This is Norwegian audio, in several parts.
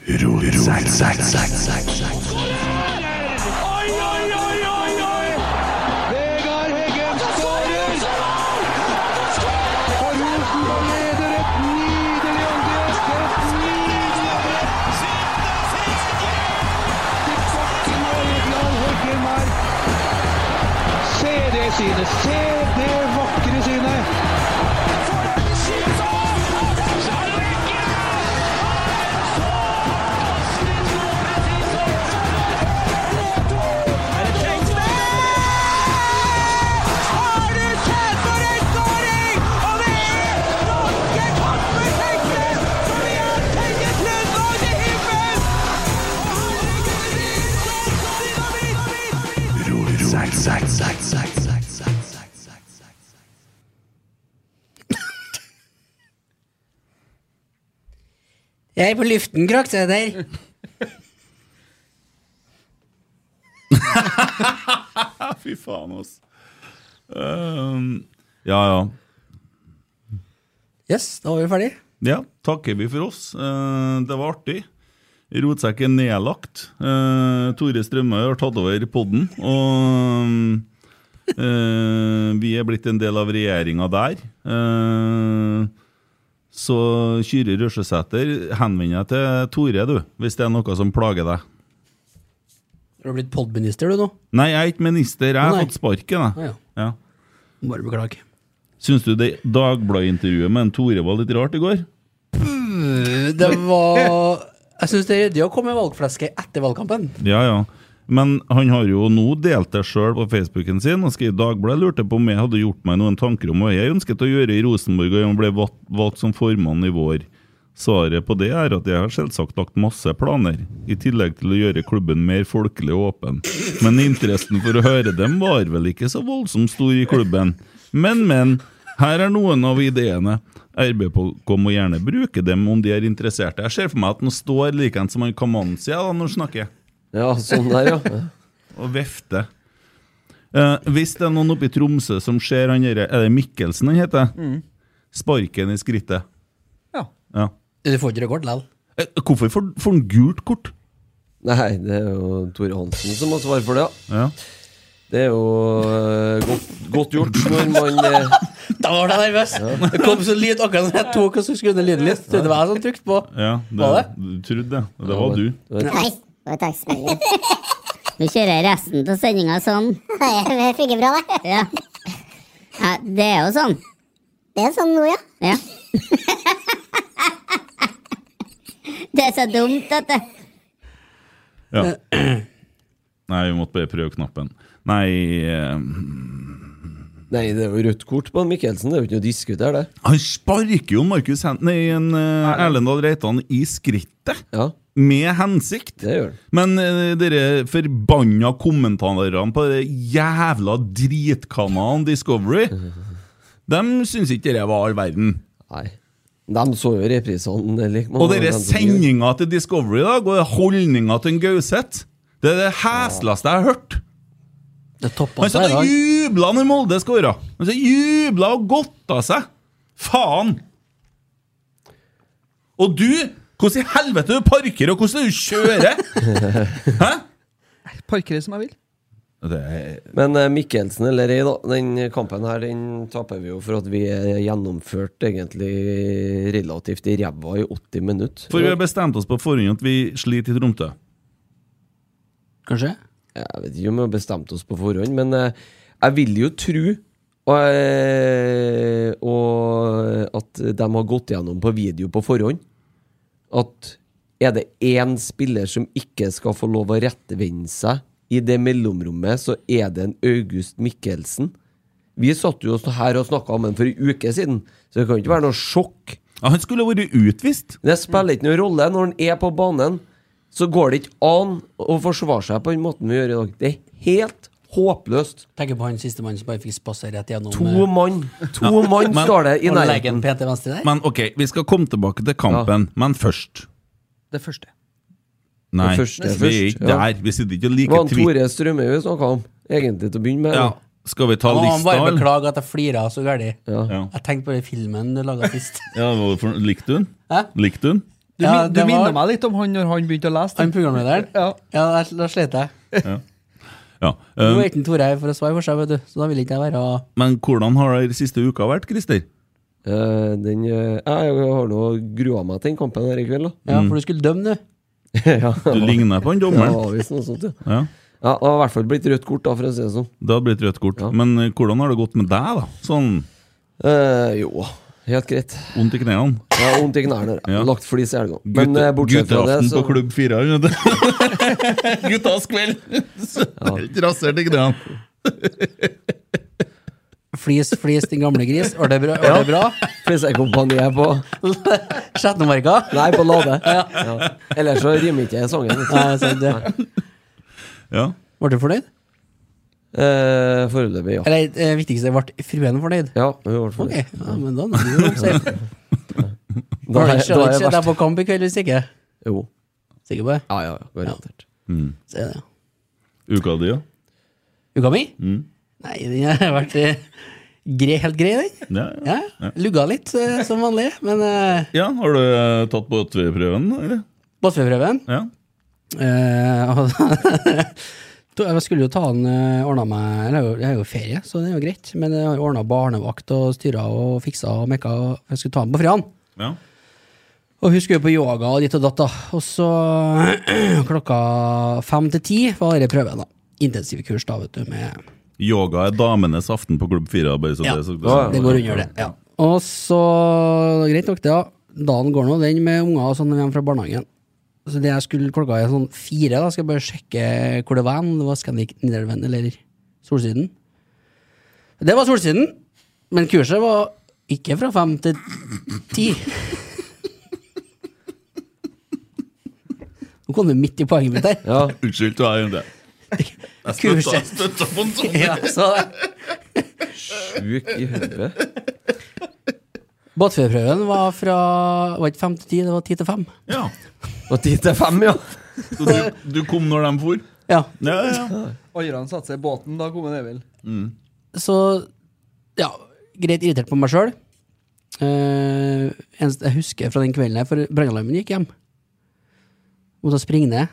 Zack, zack, zack, zack, zack. Oi, oi, oi, oi, oi! Vegard Heggen skårer! Og Rosenborg leder et nydelig angrep! Et nydelig angrep! Til bakken og Egil Heggen her. Se det synet! Se det vakre synet! Zack, zack, zack, zack, zack, zack, zack, zack, zack, zack. Jeg er på luften, Krokstøder. Fy faen, ass. Ehm, ja, ja. Yes, da var vi ferdig. Ja, takker vi for oss. Eh, det var artig. Rotsekk er nedlagt. Eh, Tore Strømøy har tatt over podden, og eh, vi er blitt en del av regjeringa der. Eh, så Kyrre Røsjesæter, henvend deg til Tore, du, hvis det er noe som plager deg. Du har blitt podminister, du nå. Nei, jeg er ikke minister, jeg har Nei. fått sparken, Ah, ja. jeg. Ja. Bare beklage. Syns du det Dagbladet-intervjuet med en Tore var litt rart i går? Det var Jeg syns det er ryddig å komme med valgfleske etter valgkampen. Ja, ja. Men han har jo nå delt det sjøl på Facebooken sin og skriver Dagbladet lurte på om jeg hadde gjort meg noen tanker om hva jeg ønsket å gjøre i Rosenborg og jeg ble valgt, valgt som formann i vår. Svaret på det er at jeg har selvsagt lagt masse planer, i tillegg til å gjøre klubben mer folkelig og åpen. Men interessen for å høre dem var vel ikke så voldsomt stor i klubben. Men, men. Her er noen av ideene. RBK må gjerne bruke dem om de er interesserte. Jeg ser for meg at han står likeens som han Kamanzi da, når han snakker Ja, sånn der, ja. og vefte. Eh, hvis det er noen oppe i Tromsø som ser han derre Er det Mikkelsen han heter? Sparken i skrittet. Ja. Ja. Du får ikke rekord likevel. Eh, hvorfor får får han gult kort? Nei, det er jo Tore Hansen som har svar for det. ja. Ja. Det er jo eh, godt, godt gjort når man eh, Da var jeg nervøs! Det kom så lyd akkurat når jeg tok og så skulle ned lyden litt. Trodde det var jeg som trykte på. ja det, Var det? Du trodde det. Det var du. Nei, det var tekstmelding. Vi kjører resten av sendinga sånn. Det funker bra, det. Ja. Nei, det er jo sånn. Det er sånn nå, ja. Det er så dumt, dette. Ja. Nei, vi måtte bare prøve knappen. Nei eh, Nei, det er jo rødt kort på han Mikkelsen. Det er jo ikke noe å diskutere, det. Han sparker jo Markus Hen... Nei, en, eh, Erlend Dahl Reitan i skrittet. Ja, Med hensikt. det gjør han. Men eh, dere forbanna kommentarene på det jævla dritkanalen Discovery De syns ikke det var all verden. Nei. De så jo reprisene. Like, Og dere sendinga til Discovery i dag, og holdninga til en Gauseth Det er det hesleste jeg har hørt. Han satt og jubla når Molde skåra. Han satt og jubla og godta seg. Faen! Og du, hvordan i helvete du parker, og hvordan du kjører! Parkere som jeg vil. Men eh, Mikkelsen eller ei, da. Den kampen her den taper vi jo for at vi er gjennomført egentlig relativt i ræva i 80 minutter. For vi har bestemt oss på forhånd at vi sliter i Tromsø. Kanskje? Jeg vet ikke om vi har bestemt oss på forhånd, men eh, jeg vil jo tro og, eh, og at de har gått gjennom på video på forhånd. At er det én spiller som ikke skal få lov å rettvende seg i det mellomrommet, så er det en August Mikkelsen. Vi satt jo her og snakka om ham for en uke siden, så det kan jo ikke være noe sjokk. han skulle vært utvist. Det spiller ikke noen rolle. Når han er på banen, så går det ikke an å forsvare seg på den måten vi gjør i dag. Det er helt håpløst. Tenker på han siste mannen som bare fikk spasse rett gjennom eh, To mann To Ja, mann men- står det i nærheten. Pen til venstre der. Men ok, vi skal komme tilbake til kampen, men først Det første. Nei, Det første, vi er ikke først, ja. der. Vi sitter ikke og Det var liker han Twitter. Tore Strømøy vi snakka om, egentlig, til å begynne med. Ja. Skal vi ta Jeg må lista, bare eller? beklage at jeg flira så gærent. Ja. Jeg tenkte på den filmen du laga sist. Ja, hvorfor- likte hun? Hæ? Likte hun? Du, Ja, min, du det var- minner meg litt om han når han begynte å lese. Han programlederen? Ja. Ja, da- da slet jeg. Ja. Nå Um, er ikke Tore her for å svare for seg, vet du, så da vil ikke jeg være men hvordan har det siste uka vært, Christer? Eh, den, eh, jeg har nå grua meg til den kampen her i kveld, da. Ja, for du skulle dømme, du. ja, Du ligner på han Ja, dommeren. var visst noe sånt, ja. Ja, Ja, det har i hvert fall blitt rødt kort, da, for å si det sånn. det hadde blitt rødt kort. Men eh, hvordan har det gått med deg, da? Sånn Eh, jo, helt greit. vondt i knærne? Jeg har vondt i knærne. jeg. Ja. Lagt flis i helga. Men eh, Gutte, bortsett fra det, gutteaften så på Klubb 4. vet du. Guttas kveld! Helt rasert i knærne. Flis, flis, din gamle gris. Var det bra? Var det bra? Flisekompaniet på Sjettemarka? Nei, på Lade. Ja. Ellers så rimer ikke jeg sangen. vet du. Nei, sant det. Ja. Ble du fornøyd? Eh, Foreløpig, ja. Eller det viktigste, ble fruen fornøyd? Ja, i hvert fall. Ok, ja, men da er det jo safe. Da er- da er jeg Deg verst. på kamp i kveld hvis ikke. Jo. Sikker på det? Ja, ja, ja. Garantert. Se det. Uka di, ja? Uka mi? Nei, den har vært eh, grei, helt grei, den. Ja, ja. Ja, Lugga litt, eh, som vanlig. Men eh, ja har du eh, tatt båtprøven, eller? båtførerprøven Ja. eh, og- To- Jeg skulle jo ta den eh, ordna meg eller jeg har jo- Jeg har jo ferie, så det er jo greit. Men jeg har jo ordna barnevakt og styra og fiksa og mekka. og Jeg skulle ta den på fredag. ja. Og hun skulle jo på yoga og ditt og datt, da. Og så klokka fem til ti var det prøven, da. Intensivkurs, da, vet du, med Yoga er damenes aften på Klubb 4. Bare så Ja, det, så, det går under det. Ja. Og så Greit nok, det, da. Dagen går nå, den med unger og sånn når vi er fra barnehagen. Så det jeg skulle klokka er sånn fire, da, skal jeg bare sjekke hvor det var hen. Det var Scandic Nidelven eller Solsiden. Det var Solsiden, men kurset var ikke fra fem til ti. Nå kom du midt i poenget mitt her. Ja. Unnskyld, du er jo det. Jeg støtta- Kurset. støtta på en sånn. Ja, så det. Sjuk i hodet. Båtførerprøven var fra var ikke fem til ti, det var ti til fem. Ja. Og ti til fem, ja. Så du, du kom når de for? Ja, Ja, ja. Oljerne satte seg i båten, da kom en Emil. så ja, greit irritert på meg sjøl. Eh, eneste jeg husker fra den kvelden her, for brannalarmen gikk hjem. Måtte springe ned.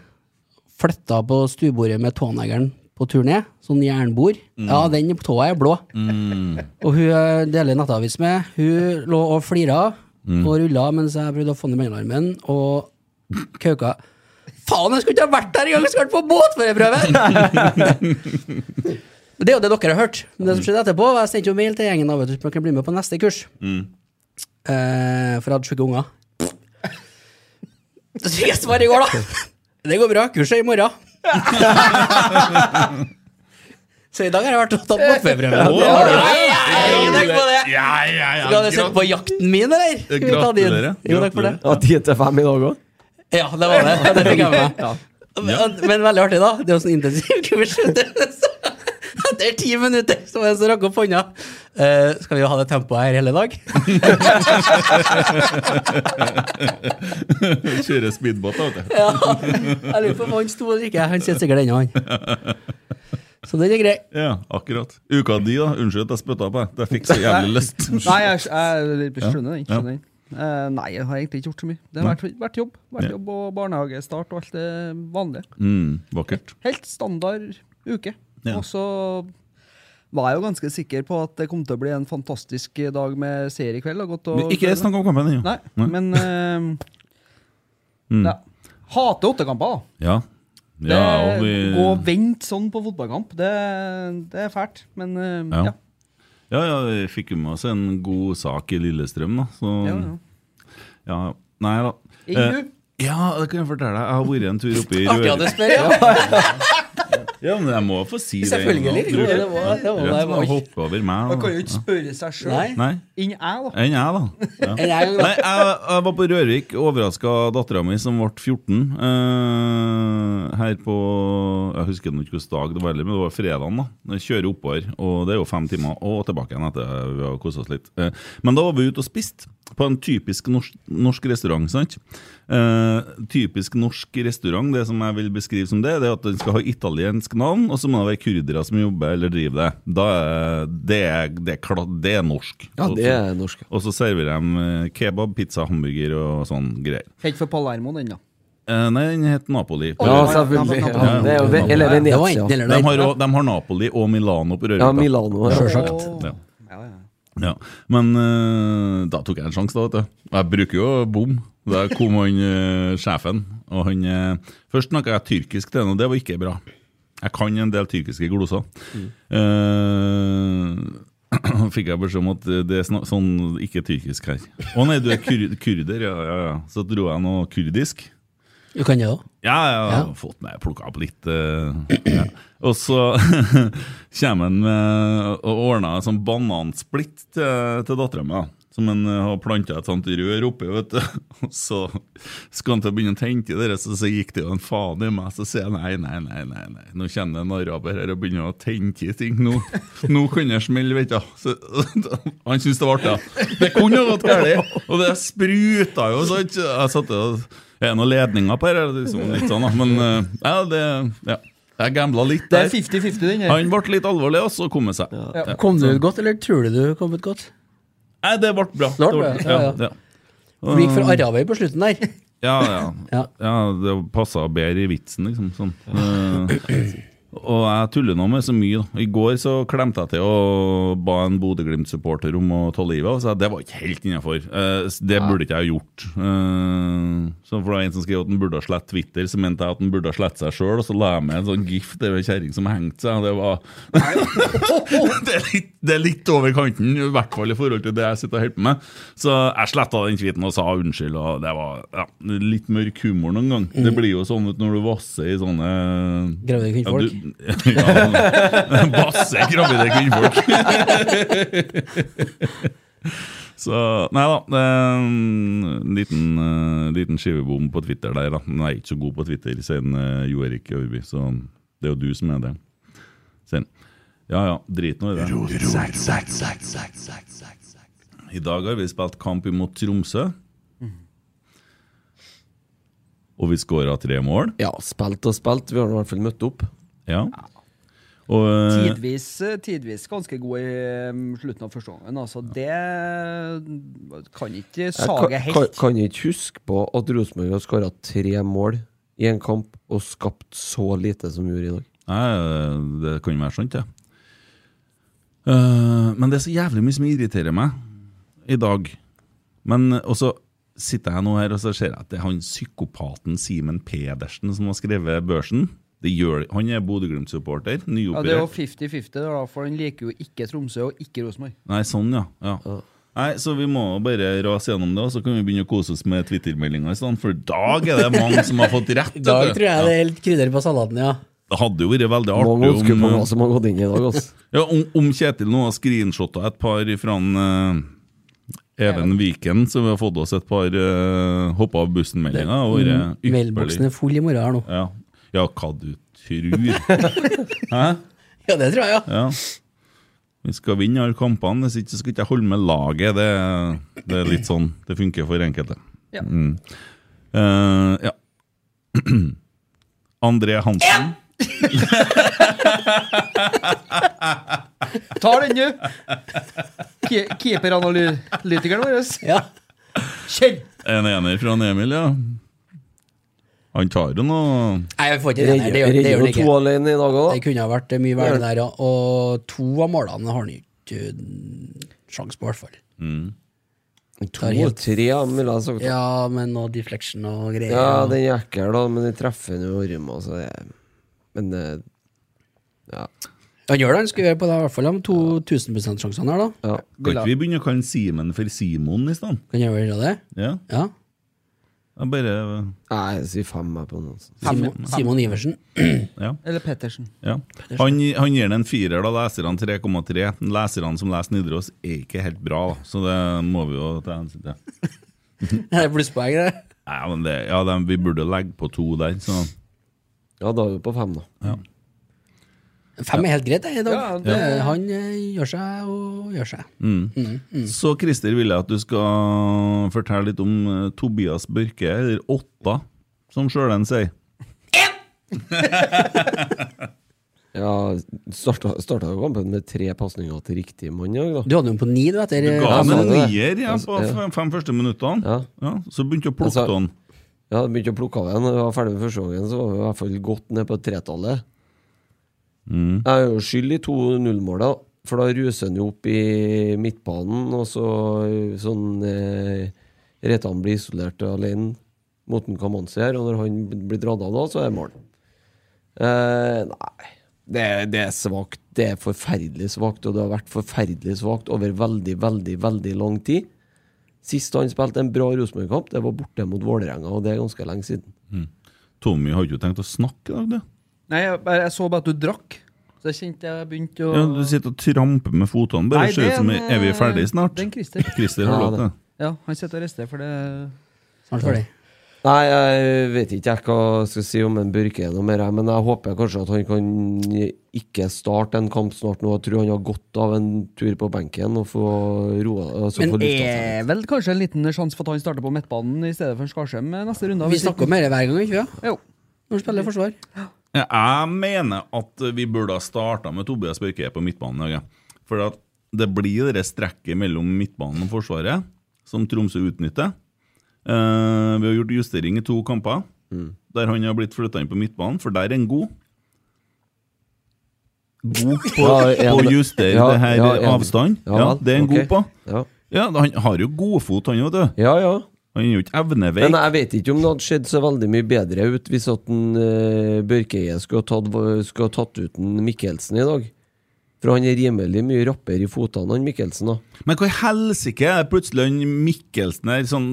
Flytta på stuebordet med tånegeren på tur ned. Sånn jernbord. Ja, den på tåa er blå. Og hun jeg deler nattavis med, hun lå og flira og rulla mens jeg prøvde å få ned brannalarmen, og kauka. Faen, jeg skulle ikke ha vært der engang! Jeg skulle vært på båtførerprøve! Det er jo det dere har hørt. Men det som skjedde etterpå, var jeg sendte jo mail til gjengen av, vet du, så dere bli med på neste kurs. Eh, for jeg hadde sjuke unger. Så fikk jeg svar i går, da. Det går bra. Kurset er i morgen. så i dag har jeg vært og tatt Å, båtførerprøve. har du det? Tenk på det! Ja, ja, ja. Skal du sett på jakten min, eller? Skal vi ta din? Eh, Gratulerer. Jo, takk for det. Ja, ti til fem i dag òg. Ja, det var det. Ja, det fikk jeg med. meg. Men, men veldig artig, da. Det er jo sånn intensivkurs. vet du. Så Jeg etter ti minutter så var det som rakk opp hånda. Eh, skal vi ha det tempoet her hele dag? Kjører speedbåt, da, vet du. ja, jeg lurer på om han sto eller ikke. Han sitter sikkert ennå, han. Så den er grei. Ja, akkurat. Uka di, da. Unnskyld at jeg spytta på deg. Jeg fikk så jævlig lyst. Nei, jeg, jeg, jeg skjønner den. Ja. Skjønner den. Eh, nei, jeg har egentlig ikke gjort så mye. Det har Nei. vært, vært jobb vært Ja. jobb og barnehagestart og alt det vanlige. Mm, vakkert. Helt standard uke. Ja. Og så var jeg jo ganske sikker på at det kom til å bli en fantastisk dag med serie i kveld. og godt å- Men ikke snakk om kampen ennå. Nei, Nei. men eh, Mm. ja. Hater åttekamper, da. Ja. ja og vi Gå og vente sånn på fotballkamp, det, det er fælt. Men eh, Ja. ja. Ja, ja, vi fikk jo med oss en god sak i Lillestrøm, da. Så Ja, Ja, ja. Nei da. Eh, Ingu? ja, det kan jeg fortelle deg. Jeg har vært en tur oppe i Artig at du spør, ja. Ja, men jeg må få si det. Selvfølgelig. en gang, tror jeg. Jo, det var- det var- Ja, det var- jeg hoppet over meg. Man kan jo ikke spørre seg sjøl. Nei. Nei. Enn jeg, da. Enn jeg, da. Ja. Enn jeg, da. Nei, jeg, jeg var på Rørvik, overraska dattera mi som ble 14. eh, her på Jeg husker nå ikke hvilken dag det var, heller, men det var fredagen. da Jeg Kjører oppover, og det er jo fem timer, og tilbake igjen etter vi har kosa oss litt. Eh, men da var vi ute og spiste på en typisk norsk, norsk restaurant. sant? Eh, typisk norsk restaurant, det som jeg vil beskrive som det, det er at den skal ha italiensk navn, og så må det være kurdere som jobber eller driver det. Da er, det, er, det, er, kla- det er norsk. Ja, det er norsk. Og så serverer de eh, kebab, pizza, hamburger og sånn greier. Helt for Palermo, den, da. Eh, nei, den het Napoli. på Ja, Rørvik. selvfølgelig. Ja, Ja, det er jo ve- eller Venezia. Det var enten eller De har, det. også- de har Napoli og Milano på Rørvik. Ja, da. Milano, ja. Selvsagt. Ja. Ja, Men eh, da tok jeg en sjanse, da. vet du. Jeg bruker jo bom. Der kom han eh, sjefen. og han, eh, Først snakka jeg tyrkisk til ham, og det var ikke bra. Jeg kan en del tyrkiske gloser. Mm. Eh, fikk jeg beskjed om at det er snak- sånn ikke tyrkisk her. Å nei, du er kur kurder, ja, ja, ja. Så dro jeg noe kurdisk. Du kan det òg. Ja, ja, jeg Ja. har fått meg plukka opp litt. eh, ja. Og så kommer han med og ordner en sånn banansplitt til, til dattera mi. da. Som han eh, har planta et sånt rør oppi. vet du. Og så skal han til å begynne å tente i det, så, så gikk det jo en faen i meg. Så sier jeg nei, nei, nei, nei, nei. nå kommer det en araber her og begynner å tente i ting. Nå, nå kan det smelle, vet du. Så, han syntes det var artig. da. Det kunne jo gått galt. Og det spruta jo, sant. Jeg satt og er det noen ledninger på her? eller Liksom, litt sånn, da. Men eh, ja, det, ja. jeg gambla litt Det der. er 50-50, den her. Han ble litt alvorlig, og så kom han seg. Ja. Kom du ut godt, eller tror du du kom ut godt? Nei, det ble bra. Det ble bra, ja, ja. For Du gikk for ja. araber på slutten der. Ja, ja. ja, det passa bedre i vitsen, liksom. Sånn. Eh, og jeg tuller nå med så mye. da. I går så klemte jeg til og ba en Bodø-Glimt-supporter om å ta livet av seg. Det var ikke helt innafor. det burde ikke jeg ha gjort. Eh, så for det var en som skrev at han burde ha slett Twitter, så mente jeg at han burde ha slett seg sjøl, og så la jeg med en sånn gif til ei kjerring som hengte seg. og Det var det, er litt, det er litt over kanten, i hvert fall i forhold til det jeg sitter og holder på med. Så jeg sletta den tweeten og sa unnskyld, og det var ja, litt mørk humor noen gang. Det blir jo sånn ut når du vasser i sånne Gravide kvinnfolk. Ja, du, ja, vasser gravide kvinnfolk. Så Nei da. det er En liten, eh, liten skivebom på Twitter der, da. Men jeg er ikke så god på Twitter, siden eh, Jo Erik Øverby. Så det er jo du som er det. Siden. Ja ja, drit nå i det. I dag har vi spilt kamp imot Tromsø. Og vi skåra tre mål. Ja, spilt og spilt. Vi har nå i hvert fall møtt opp. Ja. Og eh, Tidvis, eh, tidvis ganske god i eh, slutten av første gangen. Altså, det kan ikke Jeg kan, sage kan, helt. kan ikke huske på at Rosenborg har skåra tre mål i en kamp og skapt så lite som vi gjorde i dag. Nei, det kan jo være sånt, det. Eh, men det er så jævlig mye som irriterer meg i dag. Men eh, Og så sitter jeg nå her og så ser jeg at det er han psykopaten Simen Pedersen som har skrevet Børsen. Det gjør, han er Bodø-Glimt-supporter. Ja, det er jo Nyoperert. 50-50, der, da, for han liker jo ikke Tromsø og ikke Rosenborg. Nei, sånn, ja. ja. Nei, Så vi må bare rase gjennom det, og så kan vi begynne å kose oss med Twitter-meldinger i stedet. For i dag er det mange som har fått rett. I dag vet du. tror jeg Ja. det er helt krydder på salaten, ja. Det hadde jo vært veldig artig eh, Mange husker på hva som har gått inn i dag, altså. ja, om, om Kjetil nå har screenshotta et par fra en, eh, Even Viken, så vi har fått oss et par uh, hoppa av bussen-meldinger. Mm, Mailboksen er full i morgen her nå. Ja. ja, hva du tror. Hæ? Ja, det tror jeg, ja. Ja. Vi skal vinne alle kampene, hvis ikke så skal ikke jeg holde med laget. Det, det er litt sånn det funker for enkelte. Ja. Mm. Eh, ja. André Hansen. Ta den, du! Ke- Keeperanalytikeren vår. Ja. Kjenn! En ener fra en Emil, ja. Han tar jo noe Nei, vi får ikke det. der, Det gjør det, gjør det ikke. alene i dag òg, Det kunne ha vært mye verre der, ja. Og to av målene har han ikke eh, sjans på, i hvert fall. To og tre, ja, ville jeg sagt. Ja, med noe deflection og greier. Ja, den er ekkel, da, men den treffer nå Orma, så altså, det Men eh, ja. Han gjør det, han skulle gjøre på det, i hvert fall de to 1000 %-sjansene her, da. Kan ikke vi begynne å kalle Simen for Simon i stedet? Kan gjøre vel det? Ja. Ja. Jeg bare Nei, jeg sier fem jeg på noen. altså. Simon, Simon Iversen. Ja. Eller Pettersen. Ja. Han, han gir den en firer, da leser han 3,3. Leserne som leser Nidaros, er ikke helt bra, da. så det må vi jo ta hensyn til. Det er plusspoeng, det. Nei, men det, ja, de, vi burde legge på to der, så Ja, da er vi på fem, da. Fem er helt greit, det, i dag. Ja, det- Det- Han eh, gjør seg og gjør seg. mm. Så Christer vil jeg at du skal fortelle litt om eh, Tobias Børke, eller Åtta, som sjøl en sier. Ja, starta, starta jo kampen med tre pasninger til riktig mann i dag, da. Du hadde jo på ni, du, etter Du eh, ga jeg ham sa en det. nier ja, Jeg sa- på ja. fem, fem første minuttene. Ja, Altså- Ja, så begynte å Jeg plukke sa- av han. ja det begynte å plukke av igjen. Når jeg var ferdig med første gangen, så var vi i hvert fall godt ned på tretallet. Mm. Jeg er jo skyld i to nullmåla, for da ruser han jo opp i midtbanen, og så sånn eh, Reitan blir isolert alene mot en Kamanzi her, og når han blir dratt av da, så er det mål. Eh, nei, det, det er svakt. Det er forferdelig svakt, og det har vært forferdelig svakt over veldig, veldig, veldig lang tid. Sist han spilte en bra Rosenborg-kamp, det var borte mot Vålerenga, og det er ganske lenge siden. Tommy hadde jo tenkt å snakke i dag, du. Nei, jeg, bare- jeg så bare at du drakk. Så jeg kjente jeg begynte å Ja, du sitter og tramper med fotene. Bare Nei, ser det ut som er en, Er vi eh, ferdige snart? det er en Christer. Christer har Ja, lov til det. Ja, han sitter og rister, for det Snart ferdig. Nei, jeg vet ikke jeg hva jeg skal si om en Børke er noe mer, jeg, men jeg håper kanskje at han kan ikke starte en kamp snart nå. Jeg tror han har godt av en tur på benken og få roa altså få Men lufta er seg litt. vel kanskje en liten sjanse for at han starter på midtbanen i stedet for Skarsheim eh, neste runde? Vi snakker om dette hver gang, ikke vi? Jo. Når vi spiller forsvar. Ja, Jeg mener at vi burde ha starta med Tobias Børke på midtbanen. i dag, ja. For at det blir det strekket mellom midtbanen og Forsvaret som Tromsø utnytter. Eh, vi har gjort justering i to kamper, Mm. der han har blitt flytta inn på midtbanen, for der er han god. God på, Ja, jeg- på å justere ja, det her ja, jeg- avstand. Ja, vel, det er han ok. god på. Ja. Ja, Han har jo godfot, han, vet du. ja, ja. Han er jo ikke evneveik. Men eh, jeg vet ikke om det hadde sett så veldig mye bedre ut hvis at en, eh, Børkeie skulle ha tatt, skulle ha tatt ut en Mikkelsen i dag. For han er rimelig mye rappere i fotene, han Mikkelsen. da Men hva i helsike er det plutselig han Mikkelsen her sånn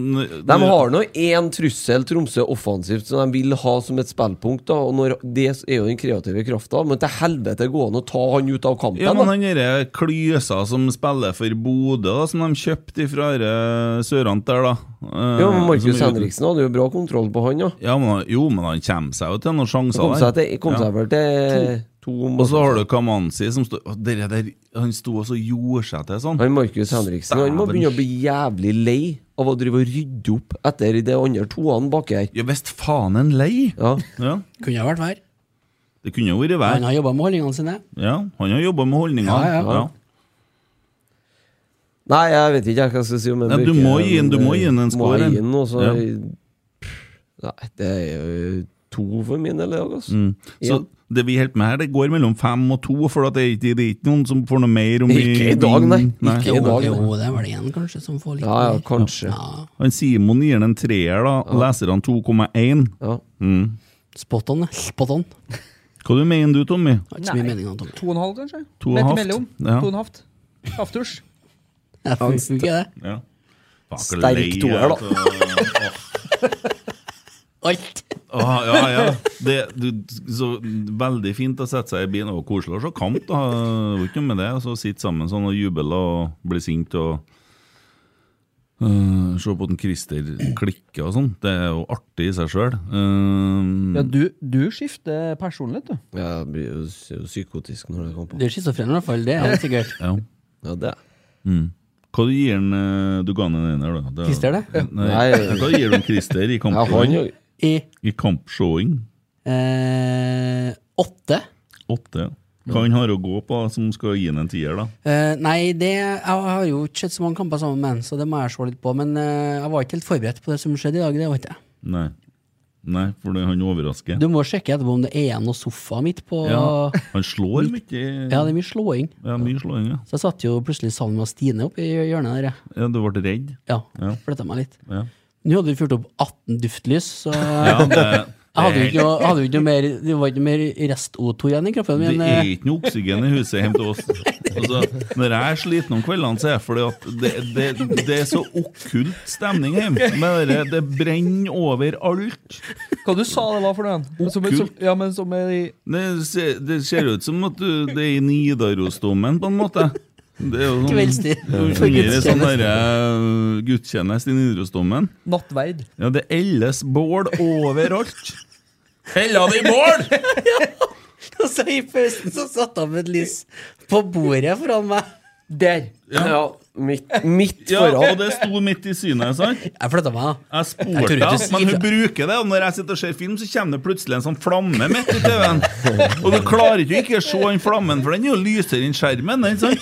De har nå én trussel Tromsø offensivt som de vil ha som et spillpunkt. Da, og når Det er jo den kreative krafta, men til helvete gå an å ta han ut av kampen! Ja, men da. han derre Klysa som spiller for Bodø, da, som de kjøpte ifra dere Sørant der, da. Eh, Ja, men Markus som- Henriksen hadde jo bra kontroll på han, ja. Ja, men, jo, men han kommer seg jo til noen sjanser Han kom der. seg, til, kom seg vel til to Og så har mål. du Kamanzi som står Å, dere der, Han sto og så gjorde seg til sånn. Han Markus Henriksen han må Dæven. begynne å bli jævlig lei av å drive og rydde opp etter de andre toene baki her. Ja visst faen en lei! Ja. Ja, Kunne ha vært hver. det kunne jo Han vært vær. har jobba med holdningene sine. Ja, han har jobba med holdninger. Ja, ja. Nei, jeg vet ikke jeg, hva jeg skal si om en Nei, du Børke, må gi inn- du men, må gi inn en eh, score, jeg gi en. inn, og så- Ja. Nei, det er jo to for min del i dag, altså. Mm. Så det vi holder på med her, det går mellom fem og to, for at det, er ikke- det er ikke noen som får noe mer om vi Ikke i dag, nei. vinner. Ikke Jo, i dag, jo, nei. det var det en kanskje som får litt Ja, ja, mer. kanskje. Ja. Han Simon gir den en treer, da. Leserne 2,1. Ja. Mm. Spot on, det. spot on. Hva du mener du, Tommy? Har ikke så mye Nei. mening om Tommy. To og en halv, kanskje? To og Midt en halvt. imellom. Ja. To og en halvt. Aftusj. Jeg funker ikke det. Ja. Sterk toer, da. altså. Alt. Ah, ja, ja. Det, du, så veldig fint å sette seg i bilen. Og koselig å se kamp, da. Det var ikke noe med det. Og så sitte sammen sånn og juble og bli sint og Eh, se på den Christer klikker og sånn. Det er jo artig i seg Eh, sjøl. Ja, du, du skifter personlighet, du. Ja, jeg blir jo sy- psykotisk når det kommer på. Du er schizofren i hvert fall, det er helt sikkert. Ja. det Mm. Hva du gir den, eh, du ga den en ener, da? er- Christer, det? Ja. Nei, Nei. Hva gir du Christer i Ja, han jo- kampshowing? I I kampshowing? eh, åtte. Åtte. Hva han har å gå på som skal gi han en tier, da? Eh, nei, det, jeg har jo ikke sett så mange kamper sammen med han, så det må jeg se litt på. Men eh, jeg var ikke helt forberedt på det som skjedde i dag. det var ikke jeg. Nei. Nei, for det- han overrasker. Du må sjekke etterpå om det er igjen noe sofa midt på Ja, han slår mye. Ja, det er mye slåing. Ja, mye slåing, ja. Så jeg satt jo plutselig sammen med Stine oppe i hjørnet der. jeg. Ja, du ble redd? Ja, Ja. flytta meg litt. Ja. Nå hadde vi fyrt opp 18 duftlys, så Ja, eh, det- det Jeg hadde jo er- ikke noe, hadde jo ikke noe mer, det var ikke noe mer rest-O2 igjen i kroppen min. eh. det er ikke noe oksygen i huset hjemme til oss. Altså, når jeg er sliten om kveldene, så er det fordi at det, det, det er så okkult stemning hjemme. Men det, det brenner over alt. Hva du sa det var for noe? igjen? Som, som, Okkult. ja, men som er i Det ser, det ser ut som at du, det er i Nidarosdomen, på en måte. Det er jo sånn, Kveldstid. Det fungerer sånn derre gudstjeneste i Nidarosdomen. nattverd. Ja, det elles bål overalt. Hella det i bål! Og så I pausen så satte han et lys på bordet foran meg. Der. Ja. midt, Ja, og det sto midt i synet, sant? Jeg flytta meg, da. Jeg Jeg tror spurte ikke henne, du men hun sier- bruker det. Og når jeg sitter og ser film, så kommer det plutselig en sånn flamme midt i TV-en. Og du klarer ikke å ikke se den flammen, for den er jo lysere enn skjermen. Den, sant?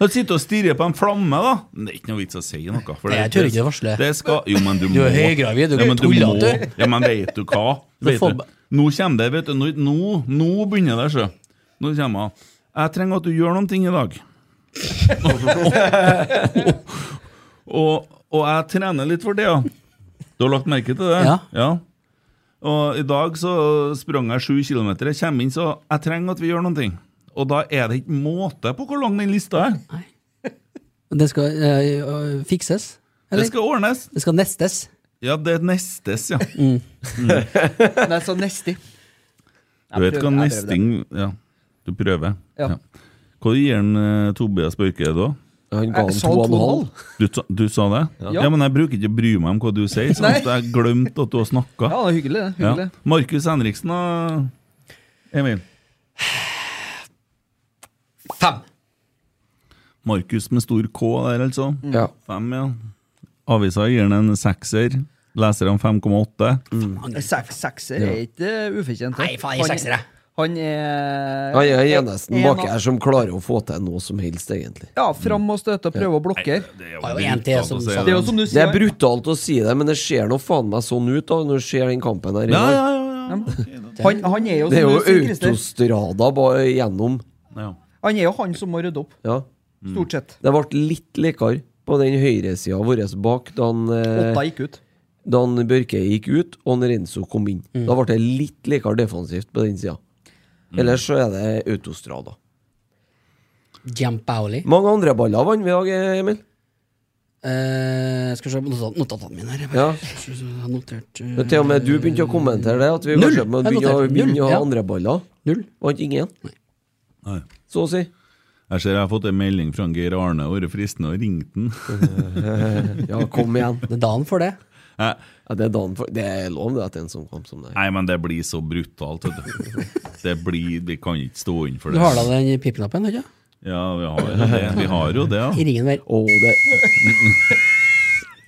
Du sitter og stirrer på en flamme, da. Men Det er ikke noe vits å si noe. For Nei, jeg tør ikke å varsle. Det skal, jo, men du må Du er høygravid, du ja, men tuller må- at du. Ja, men vet du hva? Du Vet får du, ba- nå kommer det, vet du. Nå, nå, nå begynner det, sjø. Nå kommer hun. Jeg trenger at du gjør noen ting i dag. Og, og jeg trener litt for det, ja. Du har lagt merke til det? Ja. Og i dag så sprang jeg sju kilometer. Jeg kommer inn, så jeg trenger at vi gjør noen ting. Og da er det ikke måte på hvor lang den lista er. Det skal eh, øh, fikses. Det skal ordnes. Det skal nestes. Ja, det er nestes, ja. Nei, så nesti. Du prøvde- jeg vet hva prøvde. nesting Ja, du prøver. Ja. Hva gir han eh, Tobias Børke da? Han ga Jeg han Eh, sa to og en to og en halv. halv. Du, ta- du sa det? Ja. Ja. men jeg bruker ikke å bry meg om hva du sier, sånn at jeg glemte at du har snakka. Ja, det er hyggelig, det. Hyggelig. Markus Henriksen og Emil. Fem. Markus med stor K der, altså. Mm. Ja. Fem, ja. Avisa gir den en sekser. Leserne 5,8. Mm. Sek, sekser er ikke eh, ufortjent. Nei, faen, jeg er sekser, jeg. Han er Han er eneste en bak av- her som klarer å få til noe som helst, egentlig. Ja, fram og støte og prøve å blokkere. Det er Har jo en til som sa Det er jo som du Det sier. er brutalt å si det, men det ser nå faen meg sånn ut da når du ser den kampen her. i Ja, dag. ja, ja. Han, han er jo Det er som jo du sier, Christer. autostrada bare gjennom. ja. ja. Han er jo han som må rydde opp. Ja. Stort sett. Det ble litt likere på den høyresida vår bak da han, eh, Åtta gikk ut. da han Børke gikk ut og han Renzo kom inn. Mm. Da ble det litt likere defensivt på den sida. Ellers så er det autostrada. Jam Paoli. Mange andre baller vant vi i dag, Emil. Eh, skal vi se på notat- notatene mine her. Jeg Ja. har notert eh, Men til og med du begynte å kommentere det, at vi Null. kanskje må Jeg begynne å noterte null, begynne å ha ja. andre baller. null. Vant ingen. Nei. Så å si. Jeg ser jeg har fått en melding fra Geir Arne. Vært fristende å ringe den. Ja, kom igjen. Det er dagen for det. Jeg- Ja, det, er dagen for, det er lov det at det er en sånn kamp som det. er. Nei, men det blir så brutalt. Vet du. Det blir, Vi kan ikke stå inn for Du det. har da den pipknappen, ikke sant? Ja, vi har jo det. Vi har jo det ja. I ringen der. Å, det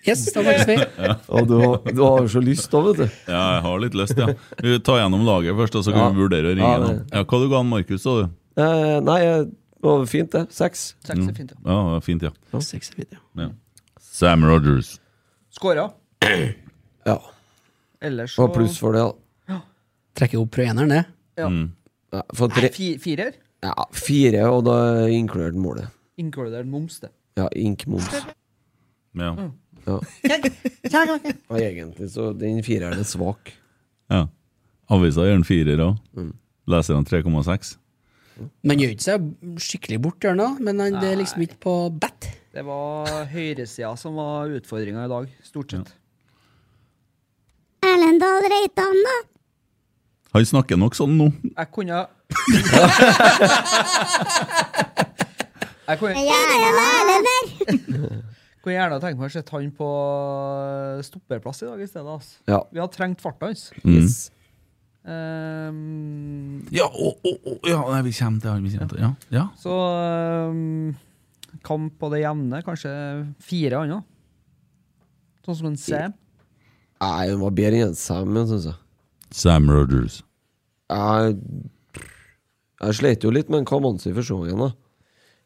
Yes, da var det smitt. Å, du, har, du har jo så lyst da, vet du. ja, jeg har litt lyst, ja. Vi tar gjennom laget først, og så kan Ja. vi vurdere å ringe. Ja, Ja, det- ja, hva du ga han Markus, sa du? Eh, nei, det var fint, det. Seks. Seks er fint, ja. Ja, det var fint, ja. Seks er fint, ja. ja. Sam Rogers. Skåra. Ja. Ellers Det så var pluss for det, da. Trekker opp fra eneren, det. Ja. Ja, for Nei, tre, fi- Firer? ja, fire, og da er inkludert målet. Inkludert moms, det. Ja, ink-moms. Ja. Ja. Ja, egentlig så den fireren er svak. ja. Avisa gjør en firer òg. Leser han 3,6? Man gjør ikke seg skikkelig bort, gjør han da, men han, det er liksom ikke på bat. Det var høyresida som var utfordringa i dag, stort sett. Erlendal Reitan, da? Han snakker nok sånn nå. Jeg kunne Jeg kunne, Erlend, Erlend der! Kunne gjerne tenkt meg å sett han på stopperplass i dag i stedet. Altså. Ja. Vi hadde trengt farta hans. Mm. Ehm, Ja, å, å, å, ja, nei, vi kommer til han vi kommer til. Ja. ja. Så ehm, kamp på det jevne, kanskje fire andre. Sånn som en Sam. Nei, hun var bedre enn Sam, syns jeg. Sam Rogers. Jeg, jeg slet jo litt med en Kamanzi for så vidt, da.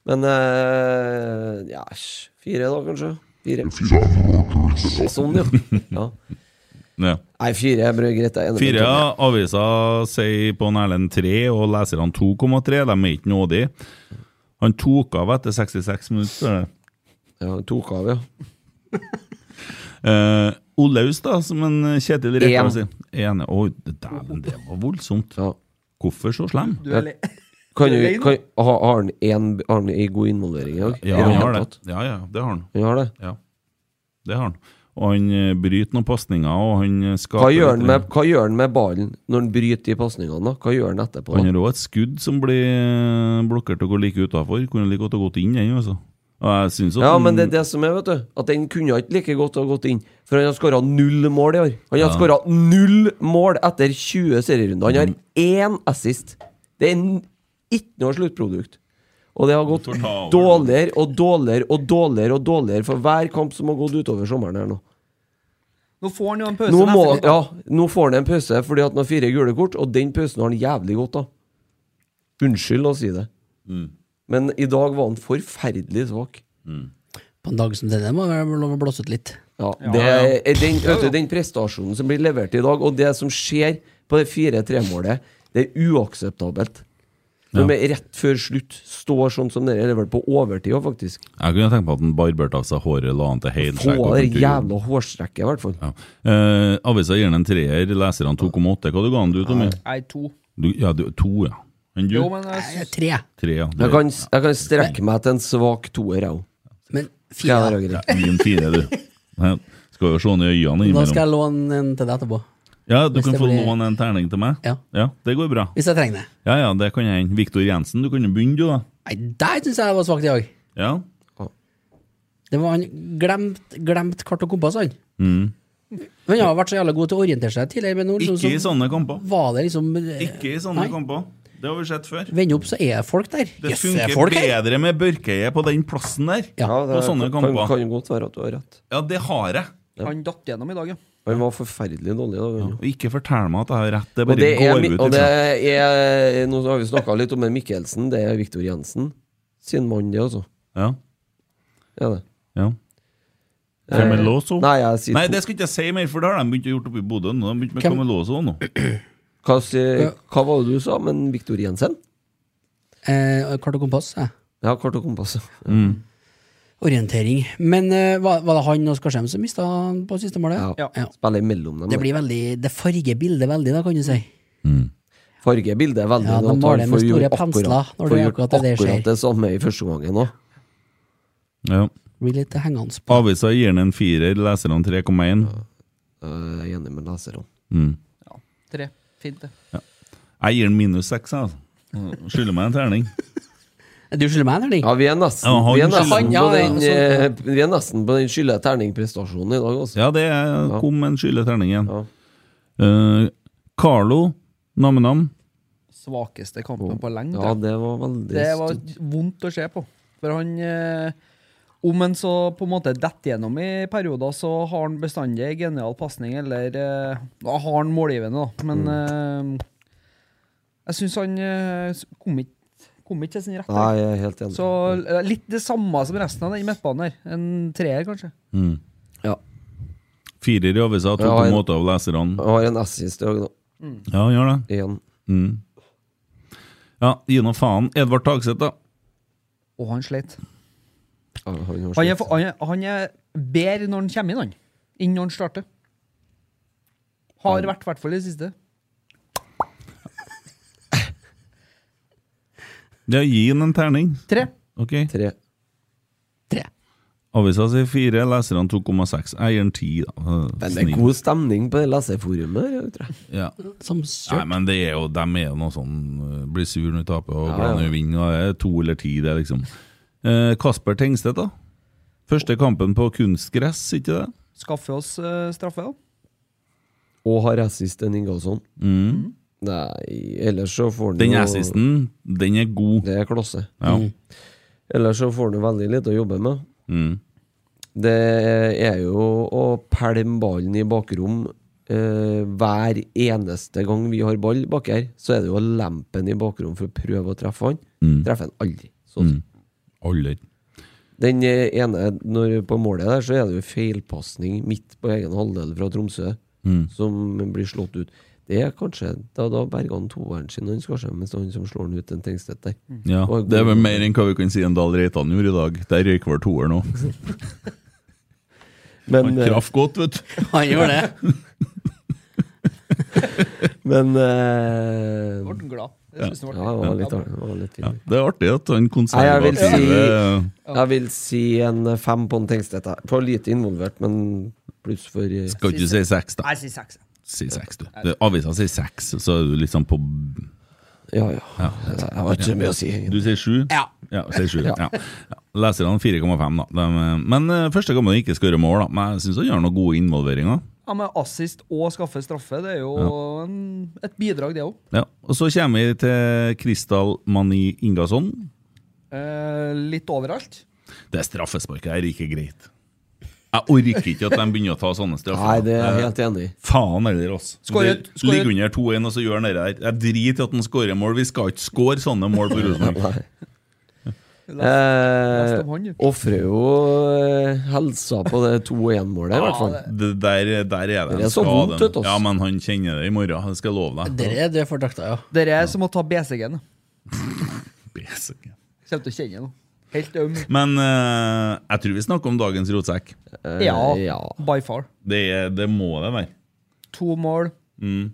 Men eh, ja, æsj, fire, da, kanskje. Fire. Sånn, ja. ja. Ja. Nei, fire er bra, greit. Jeg er enig med Fire Tommy. aviser sier på Erlend 3, og leserne 2,3. De er ikke nådige. Han tok av etter 66 minutter. står det. Ja, han tok av, ja. Eh, Olaus, da, som en Kjetil En. Rekdal sier. En. Å, dæven, det var voldsomt. Hvorfor så slem? Kan du, kan, har, har han en, har han en god involvering i dag? Ja, Er han har helt det. Ja, ja, det har han. Han har det? Ja, det har han. Og han eh, bryter noen pasninger, og han eh, skaper Hva gjør, han litt- med, hva gjør han med ballen når han bryter de pasningene? da? Hva gjør han etterpå? Han har òg et skudd som blir eh, blokkert og går like utafor. Kunne like godt ha gått inn, den, altså. Og jeg synes at Ja, han- men Mm. det er det som er, vet du. At den kunne ikke like godt ha gått inn. For han har skåra null mål i år. Han har Ja. skåra null mål etter 20 Mm. serierunder. Han har én assist. Det er n- ikke noe sluttprodukt. Og det har gått dårligere og dårligere og dårligere og dårligere for hver kamp som har gått utover sommeren her nå. Nå får han jo en pause. Nå, må, neste- ja, nå får han en pause fordi at han har fire gule kort, og den pausen har han jævlig godt av. Unnskyld å si det. Mm. Men i dag var han forferdelig svak. På en dag som denne må det være lov å blåse ut litt. Ja, det er den, vet du, den prestasjonen som blir levert i dag, og det som skjer på det 4-3-målet, det er uakseptabelt. Når vi rett før slutt står sånn som dere leverte på overtid òg, faktisk. Jeg kunne tenkt meg at han barberte av seg håret, la han til Få heinskjegg av og det kultur. jævla hårstrekket, i hvert fall. Eh, avisa gir den en treer, leserne 2,8. Hva du ga han du, Tommy? Nei, to. Du, ja, du, to, ja. Enn du? Jo, men jeg synes- Tre, ja. Jeg kan, jeg kan strekke meg til en svak toer, jeg òg. Men Skal jeg være grei? Ja, gi en fire, du. Nei, Skal jo se han i øynene Da skal innimellom. jeg låne en til deg etterpå. Ja, du Hvis kan det få blir- låne en terning til meg. Ja. det går bra. Hvis jeg trenger det. Ja, ja, det kan jeg hende. Viktor Jensen, du kan jo begynne, du, da. Nei, der syns jeg det var svakt i dag. Ja. Det var han glemt, glemt kart og kompass, han. Mm. Men han har vært så jævla god til å orientere seg tidligere. Men nå, liksom, Ikke i så sånne kamper. Var det liksom Ikke i sånne kamper. Det har vi sett før. Vend opp, så er folk der. Det Jøss, er funker folk her! bedre med Børkeie på den plassen der. på det sånne kan- kamper. kan jo godt være at du har rett. Ja, det har jeg. Han datt gjennom i dag, ja. Han var forferdelig dårlig i dag. han, jo. Og ikke fortell meg at jeg har rett. Det Og bare det er, går mi- ut og det ifra. er Nå har vi snakka litt om en Mikkelsen. Det er Viktor Jensen sin mann, det, altså. Ja. Er det. Ja. Camelotto? Eh, Nei, jeg sier Nei, to. det skulle ikke jeg si mer, for det har de begynt å gjort oppe i Bodø. nå. De har begynt med Hvem- Camelotto nå. Hva, sier, hva var det du sa om Viktor Jensen? Eh, kart og kompass, jeg. Ja, kart og kompass. Mm. Orientering. Men eh, var, var det han og Skarsheim som mista på siste målet? Ja. Spiller imellom dem. Det blir veldig, det farger bildet veldig, da, kan du si. Fargebildet er veldig Ja, de godt, maler han med får gjort store akkurat- pensler når får det er gjort akkurat det der skjer. akkurat det samme i første gangen òg. Ja. Blir litt hengende på. Avisa gir den en firer, leserne 3,1. Eh, Jeg er enig med leserne. Mm. Tre. Fint, det. Jeg gir den minus seks, jeg, altså. Skylder meg en terning. Du skylder meg en terning? Ja, vi er nesten, Ja, han vi er skylder- nesten, Han, på, ja, ja, den, eh, altså- sånn. vi er nesten på den skylde terning-prestasjonen i dag. altså. Også. Ja, det er, Ja. kom en skyldig terning igjen. Eh, Carlo, nam-nam. Svakeste kampen på lenge. Ja, tror jeg. det var veldig Det var stort. vondt å se på. For han eh, Om han så på en måte detter gjennom i perioder, så har han bestandig en genial pasning, eller eh, Da har han målgivende, da. Men Mm. eh, jeg syns han eh, s- kom ikke kom ikke til sin rette. Nei, jeg er helt enig. Så eh, litt det samme som resten av den midtbanen her. En treer, kanskje. Mm. Ja. Firer i avisa, Jeg har en- 2,8 av leserne. Jeg har en assist i dag, da. Ja, han gjør det. Igjen. Mm. Ja, gi nå faen. Edvard Tagseth, da. Og han sleit. Ja, han har Han er, slitt. for- han er, han er bedre når han kommer inn, han. Enn når han starter. Har vært i hvert fall i det siste. Ja, gi han en terning. Tre. Ok. Tre. Avisa sier fire, leserne 2,6. Jeg gir den ti, da. Men det Snill. er god stemning på det leserforumet. her, tror jeg. Ja. Som Nei, sørt. men det er jo, de er jo noe sånn øh, Blir sur når de taper og Ja, glad ja. når de vinner. og Det er to eller ti, det, liksom. Eh, Kasper Tengstedt, da? Første kampen på kunstgress, ikke det? Skaffe oss eh, straffe, da. Og har assist enn Ingalsson. Mm. Nei, ellers så får han Den jo- assisten, den er god. Det er klasse. Ja. Mm. Ellers så får han jo veldig lite å jobbe med. Mm. Det er jo å pælme ballen i bakrom eh, hver eneste gang vi har ball bak her, så er det jo å lempe den i bakrom for å prøve å treffe han. Mm. Treffer han aldri. Så Mm. Aldri. Den eh, ene når på målet der, så er det jo feilpasning midt på egen halvdel fra Tromsø Mm. som blir slått ut. Det er kanskje da, da berger han toeren sin, han Skarsheim, mens det er han som slår han ut den Tengstedt der. Ja, Og- Det er vel mer enn hva vi kan si en Dahl Reitan gjorde i dag. Der røyk vel toeren òg. Han eh, traff godt, vet du. Han gjorde det. Men eh, Ble han glad? Det Ja, synes jeg ja var det litt- var litt, artig, det var litt fint. Ja, det er artig at han Nei, jeg vil si, konservative jeg vil si en fem på en Tengstedt. da. For lite involvert, men pluss for eh, Skal ikke si seks, da. Nei, si seks. Si seks, du. Det- Avisa sier seks, så er du liksom på Ja, ja. det- Jeg har ikke så mye å si. Du sier sju? Ja. ja sier sju. Ja. Ja. Ja. Leserne 4,5, da. De, men eh, første gang man ikke skårer mål, da. Men jeg syns han gjør noen gode involveringer. Ja, men assist og skaffe straffe, det er jo en, um, et bidrag, det òg. Ja. Og så kommer vi til Kristal Mani Ingasson. Eh, litt overalt. Det straffesparket her er ikke greit. Jeg orker ikke at de begynner å ta sånne straffer. Nei, det er jeg helt enig i. Faen heller, altså. Skåret- Det skåret- Ligger under 2-1, og så gjør han det der. Jeg driter i at han skårer mål. Vi skal ikke skåre sånne mål på Rosenborg. Eh, Lest om han, jo. Ofrer jo eh, helsa på det 2-1-målet, i hvert fall. Det der, der er det Det er så skade. vondt, vet du, ass. Ja, men han kjenner det i morgen. Det skal jeg love deg. Dere er døde for drakta, ja. Dere er som å ta BCG-en. Basic. Kommer til å kjenne nå. Helt øm. Men eh, jeg tror vi snakker om dagens rotsekk. Eh, Ja, ja. by far. Det, er- det må det være. To mål. Mm.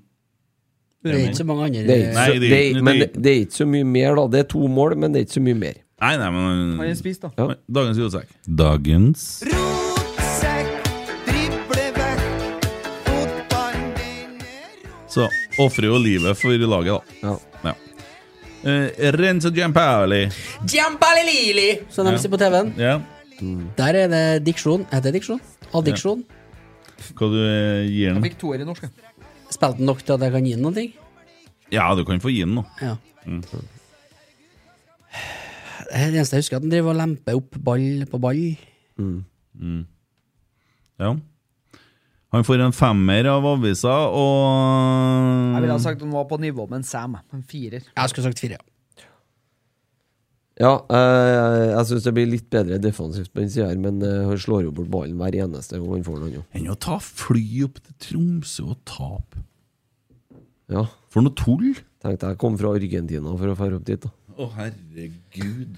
Det er ikke så mange andre Det er, ikke Nei, så, det- det, er- det- men det, det er ikke så mye mer, da. Det er to mål, men det er ikke så mye mer. Nei, nei, men Han er spist, da. Ja. Dagens rotsekk. Dagens Så ofrer jo livet for laget, da. Ja. Ja. Eh, Renzo Giampali. Giampalilili, som de Ja. sier på TV-en. Ja. Der er det diksjon. Heter det diksjon? Addiksjon. Hva du eh, gir Jeg den? fikk toer i norsk. jeg. Spilte den nok til at jeg kan gi den noen ting? Ja, du kan få gi den nå. Ja. Mm. Det er det eneste jeg husker, at den driver og lemper opp ball på ball. Ja. Han får en femmer av avisa, Jeg ville ha og sagt han var på nivå med en Sam. En firer. Jeg skulle sagt fire. ja. Ja, eh, jeg syns det blir litt bedre defensivt på den sida her, men eh, han slår jo bort ballen hver eneste gang han får den, han jo. Enn å ta fly opp til Tromsø og tape. Ja. For noe tull! Tenkte jeg kom fra Argentina for å fære opp dit, da. Å, herregud.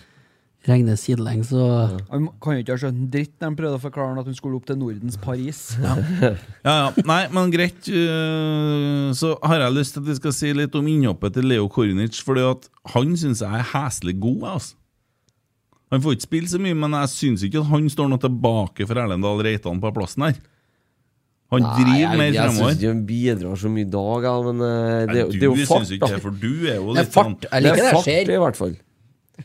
Regner sidelengs og Han kan jo ikke ha skjønt en dritt når han prøvde å forklare han at hun skulle opp til Nordens Paris. Ja, ja. Nei, men greit. øh, Så har jeg lyst til at vi skal si litt om innhoppet til Leo Kornic, fordi at han syns jeg er heslig god. jeg, Altså. Han får ikke spille så mye, men jeg syns ikke at han står noe tilbake for Erlend Dahl Reitan på plassen her. Han driver Nei, jeg, mer jeg syns fremover. ikke han bidrar så mye i dag, ja, men eh, det, Nei, er jo- du det er jo syns fart, ikke da. det, for du er jo Det er litt fart. Jeg Det liker det er jeg fart, ser. i hvert fall. sånn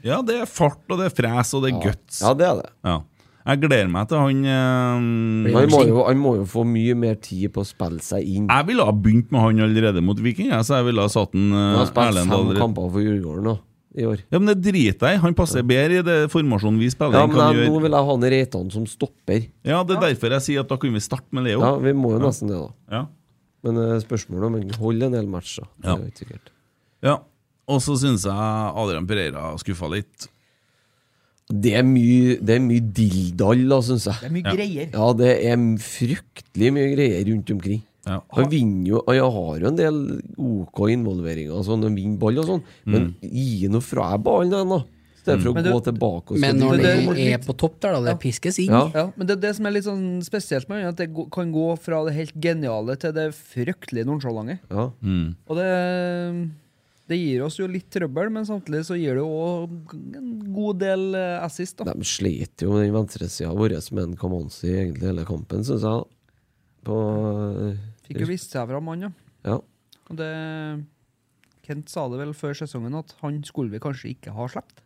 Ja, det er fart, og det er fres, og det er guts. Ja, det er det. Ja. Jeg gleder meg til han øh, Men Han Mm. må, jo, han må jo få mye mer tid på å spille seg inn. Jeg ville ha begynt med han allerede mot Viking, jeg, så jeg ville ha satt han Han øh, har spilt Erlend fem Dahl Reitan. kamper for Djurgården nå, i år. Ja, men det driter jeg i. Han passer bedre i det formasjonen vi spiller. Ja, enn men hva han jeg, nå gjør. vil jeg ha han Reitan som stopper. ja, Det er derfor jeg sier at da kunne vi starte med Leo. Ja, Vi må jo nesten det, da. Ja. Men eh, spørsmålet er om han holder en hel match, da. Det Ja. er jo ikke sikkert. Ja. Og så syns jeg Adrian Pereira skuffa litt. Det er mye, det er mye dilldall, da, syns jeg. Det er mye greier. Ja, det er m- fryktelig mye greier rundt omkring. Ja. Han vinner jo og Jeg har jo en del OK involveringer, og sånn, han vinner ball og sånn, men Mm. gi nå fra deg ballen, igjen, da. I stedet for å Men du- gå tilbake og Men skal når drive. det- den er på topp der, da, det piskes inn. Ja. Ja, men det er det som er litt sånn spesielt med han, at det gå- kan gå fra det helt geniale til det fryktelig nonsjalante. ja. Og det, det gir oss jo litt trøbbel, men samtidig så gir det jo en god del eh, assist. da. De slet jo med den venstresida vår med en Kamanzi egentlig hele kampen, syns jeg. På eh, Fikk jo vist seg fra mannen, ja. Ja. Og det Kent sa det vel før sesongen at han skulle vi kanskje ikke ha sluppet.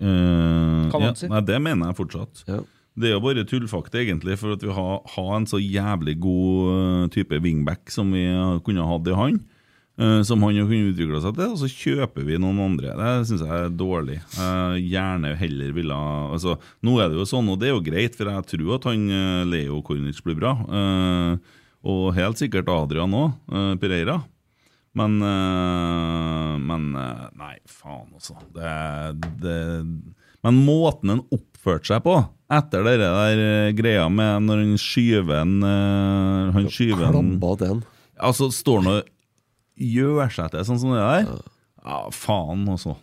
Eh, Kalansi. Ja, nei, det mener jeg fortsatt. Det er jo bare tullfakta, egentlig, for at vi har, har en så jævlig god eh, type wingback som vi har- kunne hatt i han. eh, som han jo kunne utvikla seg til, og så kjøper vi noen andre. Det syns jeg er dårlig. Jeg gjerne heller ville ha- altså, Nå er det jo sånn, og det er jo greit, for jeg tror at han eh, Leo Kornic blir bra. eh, og helt sikkert Adrian òg, Pereira. Men, eh, men eh, Nei, faen, altså. Det, det, men måten han oppførte seg på etter det der eh, greia med når han skyver en eh, Han skyver en Klabba den. Altså, står han og gjør seg til sånn som det der? Ja, faen, altså.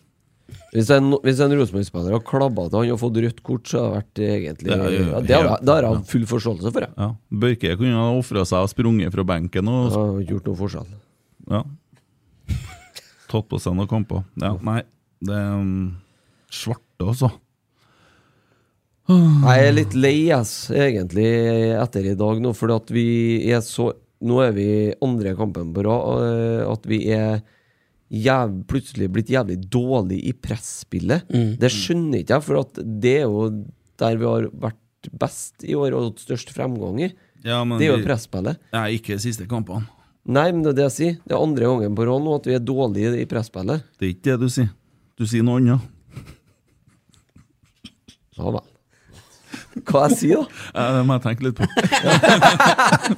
Hvis en, hvis en Rosenborg-spiller har klabba til han og fått rødt kort, så har det vært eh, egentlig Ja, ja, ja. ja, Det har Helt- jeg- det har jeg full forståelse for, jeg. Ja. Børke kunne ha ofra seg og sprunget fra benken og Gjort noe forskjell. Ja. Tatt på seg noen kamper. Ja, nei, det er um, svarte, altså. Jeg er litt lei, ass, egentlig, etter i dag nå, fordi at vi er så Nå er vi andre kampen på rad, og, eh, at vi er jæv, plutselig blitt jævlig dårlig i presspillet. Mm. Det skjønner ikke jeg, for at det er jo der vi har vært best i år og hatt størst fremgang i. Ja, men det er jo vi- presspillet. Nei, ikke de siste kampene. Nei, men det er det jeg sier. Det er andre gangen på rad nå at vi er dårlige i presspillet. Det er ikke det du sier. Du sier noe annet. Ja vel. Hva jeg sier, da? Ja, det må jeg tenke litt på.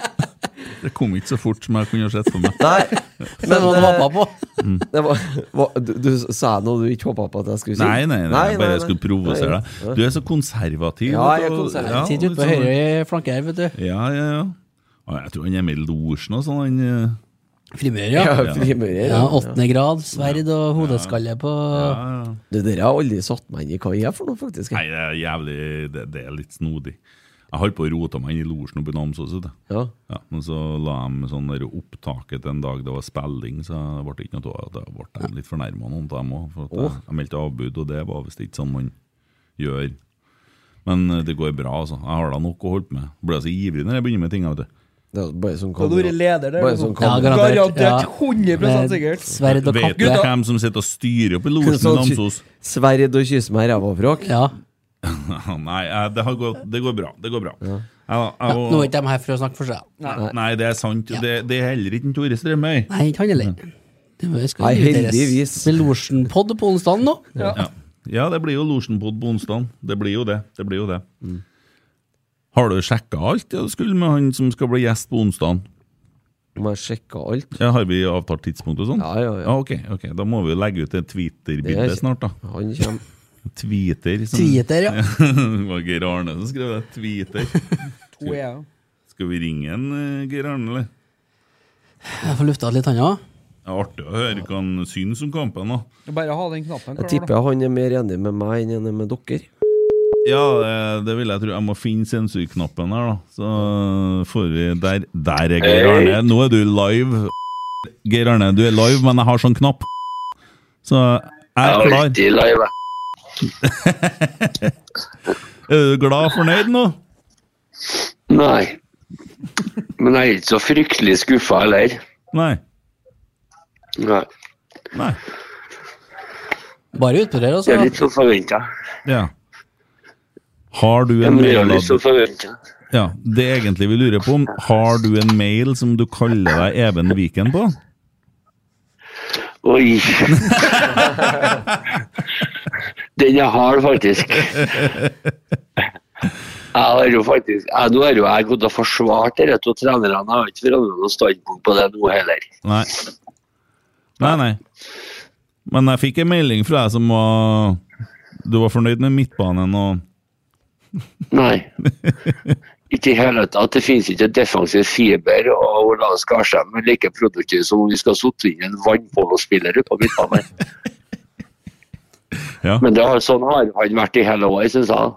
det kom ikke så fort som jeg kunne ha sett for meg. Nei, Det var noe du på. Mm. Det var, var, du, du sa noe du ikke håpa på at jeg skulle si? Nei, nei, nei, jeg bare nei. skulle provosere Nei. deg. Du er så konservativ. Ja, jeg er vet du, og- konservativ. ja, Sitter litt ute på sånn- høyre flanke her, vet du. Ja, ja, ja. Å, Jeg tror han er med i losjen og sånn. Han, eh. Frimører, ja. Ja, frimører, ja. ja. Åttende grad, sverd og hodeskalle på Det der har jeg aldri satt meg inn i hva jeg er for noe, faktisk. Nei, det er jævlig Det, det er litt snodig. Jeg holdt på å rote meg inn i losjen oppe i Namsos. vet du. Ja, men så la de sånn der opptaket til en dag det var spilling, så det ble ikke noe av det. Da ble de litt fornærma, noen av dem òg. Jeg, Åh. jeg meldte avbud, og det var visst ikke sånn man gjør. Men eh, det går bra, altså. Jeg har da nok å holde på med. Blir jeg så ivrig når jeg begynner med ting. vet du. Det er bare sånn Du hadde vært leder der. Bare liksom. sånn kamera. garantert. Ja. 100 sikkert. Vet du Gutta, hvem som sitter og styrer oppe i losjen i Sånn ky- Namsos? Sverd og kysse meg i ræva og frakk? Ja. Nei, eh, det, har gått, det går bra. Det går bra. Jeg, Ja, jeg, Nå er ikke de her for å snakke for seg. Nei, nei, det er sant. Det, det er heller ikke en Tore Strømøy. Nei, ikke han heller. Det var- skal Mm. Nei, inviteres heldigvis. Til Lorsen-pod på onsdag nå. Ja. Ja. det blir jo Lorsenpod på onsdag. Det blir jo det. det, blir jo det. Har du sjekka alt det du skulle med han som skal bli gjest på onsdag? Må jeg sjekke alt? Ja, har vi avtalt tidspunkt og sånn? Ja, ja, ja. ok, ok, Da må vi jo legge ut et Det Twitter-bilde er- snart, da. Han kommer. Tweeter. som- Tweeter, ja. det var Geir Arne som skrev det. Tweeter. To er jeg. Skal vi ringe en eh, Geir Arne, eller? Jeg får lufta litt han, ja. Det er artig å høre hva han syns om kampen. da. Bare ha den knappen Jeg klar, da. tipper han er mer enig med meg enn han er med dere. Ja, eh, det, det vil jeg tro. Jeg må finne sensurknappen her, da. Så eh, får vi Der, der er Geir Hei. Arne. Nå er du live. Geir Arne, du er live, men jeg har sånn knapp. Så jeg er klar. alltid live. Er du glad og fornøyd nå? Nei. Men jeg er ikke så fryktelig skuffa heller. Nei. Nei. Nei. Bare utpå der, Det er altså. litt som forventa. Ja. Har du Det en er mail litt sånn som forventa. Ja, det er egentlig vi lurer på om Har du en mail som du kaller deg Even Viken på? Oi! Den er hard, faktisk. Jeg har jo faktisk jeg, Nå har jo jeg gått og forsvart dette to trenerne. Jeg har ikke forandret noe standpunkt på det nå heller. Nei. Nei, nei. Men jeg fikk en melding fra deg som var Du var fornøyd med midtbanen og Nei. Ikke i hele tatt. Det finnes ikke defensiv fiber og Olav Skarsheim er like produktiv som om vi skal sitte inn en vannpolospiller ute på midtbanen. Ja. Men det har, sånn har han vært i hele år, syns jeg.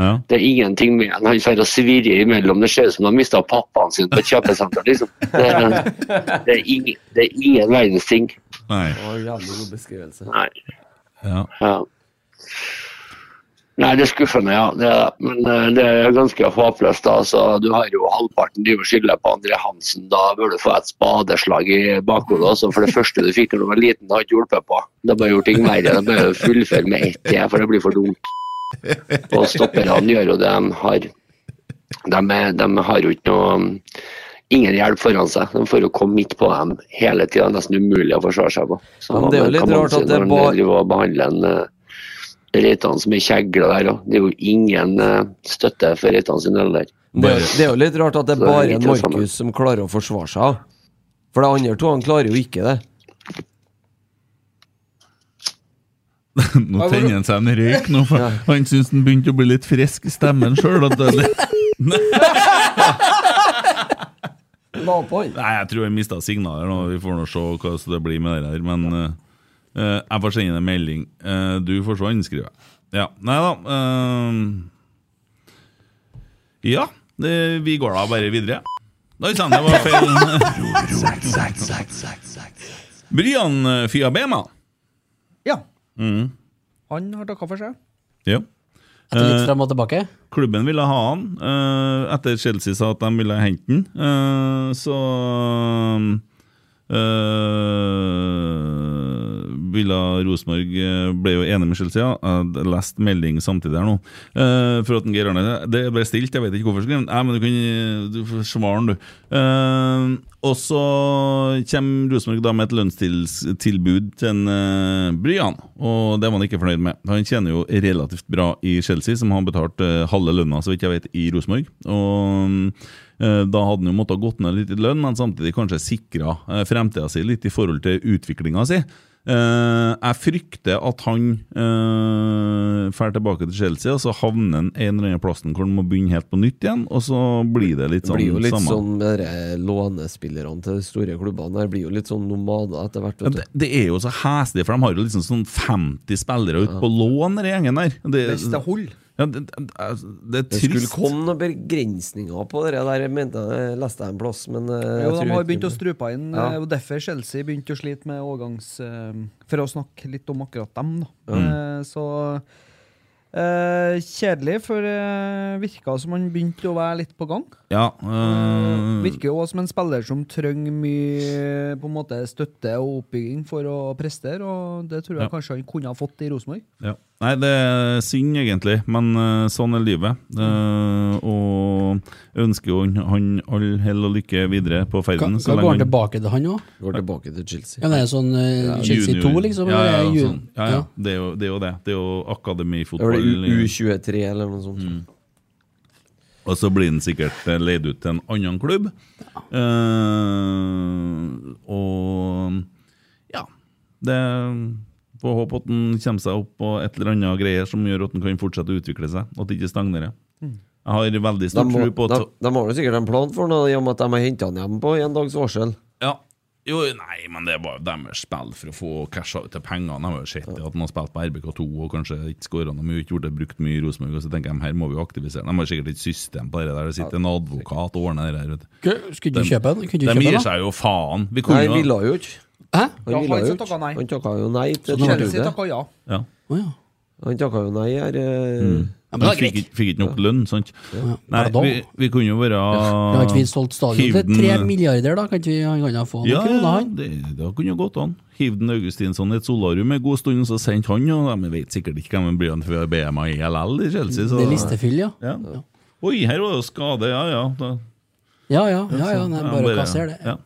Ja. Det er ingenting med han. Han får å svirre imellom. Det ser ut som han mista pappaen sin på et kjøpesenter, liksom. Det er, det er, ingen, det er ingen verdens ting. Nei. Å, jævlig god beskrivelse. Nei. Ja. Nei, det er skuffende, ja. Det er, det. men eh, det er ganske håpløst. da. Så du har jo halvparten driver og skylder på André Hansen. Da bør du få et spadeslag i bakhodet også, for det første du fikk da du var liten, har ikke hjulpet på. Det har bare gjort ting verre. Det er bare å fullføre med ett til, for det blir for dumt. Og stopperne gjør jo det de har. De, er- de har jo ikke noe um, Ingen hjelp foran seg. De får jo komme midt på dem hele tida. Nesten umulig å forsvare seg på. Så Ja, men det er jo man- litt kan man rart si at det når de bare- driver og behandler en eh, Reitan som er kjegle der og Det er jo ingen eh, støtte for Reitan sin del der. Det er, det er jo litt rart at det er Så det er bare litt en det samme. Markus som klarer å forsvare seg. For de andre to han klarer jo ikke det. Nå tenner han seg en røyk nå, for han syns han begynte å bli litt frisk i stemmen sjøl. La på Nei, jeg tror jeg mista signaler nå. Vi får nå se hva så det blir med det der. Men eh, eh, jeg får sende en melding. Eh, du forsvant, skriver jeg. Ja. Nei da. eh, ja. Det, vi går da bare videre. Oi sann, det var feil. Brian eh, Fiabema. Ja. Mm, Han har takka for seg. ja. Etter litt Eh, frem og tilbake. Klubben ville ha han eh, etter Chelsea sa at de ville hente han. Eh, så eh, ville Rosenborg eh, ble jo enig med Chelsea. Ja. Jeg hadde lest melding samtidig her nå. Eh, for at den Geir Arne Det er bare stilt, jeg vet ikke hvorfor. skrev han. Nei, men du kan du får svare han, du. Eh, og så kommer Rosenborg da med et lønnstilbud til en eh, Bryan, og det var han ikke fornøyd med. Han tjener jo relativt bra i Chelsea, som har betalt eh, halve lønna, så vidt jeg vet, i Rosenborg. Og mm, eh, da hadde han jo måttet gått ned litt i lønn, men samtidig kanskje sikra eh, fremtida si litt i forhold til utviklinga si. Eh, jeg frykter at han eh, drar tilbake til Chelsea, og så havner han en eller annen plass hvor han må begynne helt på nytt igjen, og så blir det litt Det sånn blir jo litt samme. sånn med dere lånespillerne til de store klubbene her. Blir jo litt sånn nomader etter hvert. Ja, Vet du. det, det er jo så heslig, for de har jo liksom sånn 50 spillere ute på lån, den gjengen der. Det, Hvis det holder. Ja, det, det, det er Det skulle trist. komme noen begrensninger på det der, jeg mente jeg leste jeg en plass, men eh, jeg Jo, tror de har ikke- begynt å strupe inn. Ja. eh, Og derfor Chelsea begynte å slite med overgangs... eh, For å snakke litt om akkurat dem, da. Mm. Eh, Så eh, kjedelig, for eh, virka som han begynte å være litt på gang. Ja, Mm, øh, Virker jo også som en spiller som trenger mye på en måte, støtte og oppbygging for å prestere, og det tror jeg Ja. kanskje han kunne ha fått i Rosenborg. ja. Nei, det er synd, egentlig, men øh, sånn er livet. Eh, og jeg ønsker jo han- han all hell og lykke videre på Hva, ferden. så hva lenge går han tilbake til, han òg? Går tilbake til Chelsea. Ja, det er sånn eh, Ja, Chelsea 2, junior. liksom? Ja, ja, eller ja, ju- sånn. ja, ja. Det, er jo, det er jo det. Det er jo Det akademifotball. var det U- U23 eller noe sånt. Og så blir han sikkert eh, leid ut til en annen klubb. Eh, og ja det, Får håpe at han kommer seg opp på et eller annet greier som gjør at han kan fortsette å utvikle seg, og at det ikke stagnerer. Mm. Jeg har veldig De, stor må, tro på de, at de har jo sikkert en plan for noe, i og med at de har henta han hjem på en dags varsel. Ja. Jo, nei, men det var jo deres spill for å få casha ut til pengene. Jeg har jo sett det at de har spilt på RBK2 og kanskje ikke skåra noe mye, ikke gjort det brukt mye i Rosenborg, og så tenker jeg her må vi jo aktivisere. De har sikkert et system på det der, det sitter en advokat og ordner det der. vet du. Skulle- skulle du De- kjøpe den? Kunne du De kjøpe den, gir da? seg jo faen. Vi Nei, kunne han ville jo ikke. Hæ? Ja, Sånn Han ville han jo som ikke. takket nei. Han takka jo nei til Så tilbudet. Chelsea takket ja. Ja. Han takka jo nei her. eh. Men fikk, ikke- fikk ikke nok lønn, sant? Nei, Ja, da. vi, vi kunne jo være Har ikke vi solgt stadion Hiv til tre den- milliarder, da? Kan ikke vi, han kan jo få noen Ja, kroner, han? det, det kunne jo gått an. Hiv den Augustinsson i et solarium en god stund, så sendte han jo De vet sikkert ikke hvem Brian før BMA i LL i Chelsea. Så. Det er listefyll, ja. Ja. Oi, her var det jo skade, ja ja. Da. Ja ja, ja, ja nei, Ja, bare å kassere det. ja.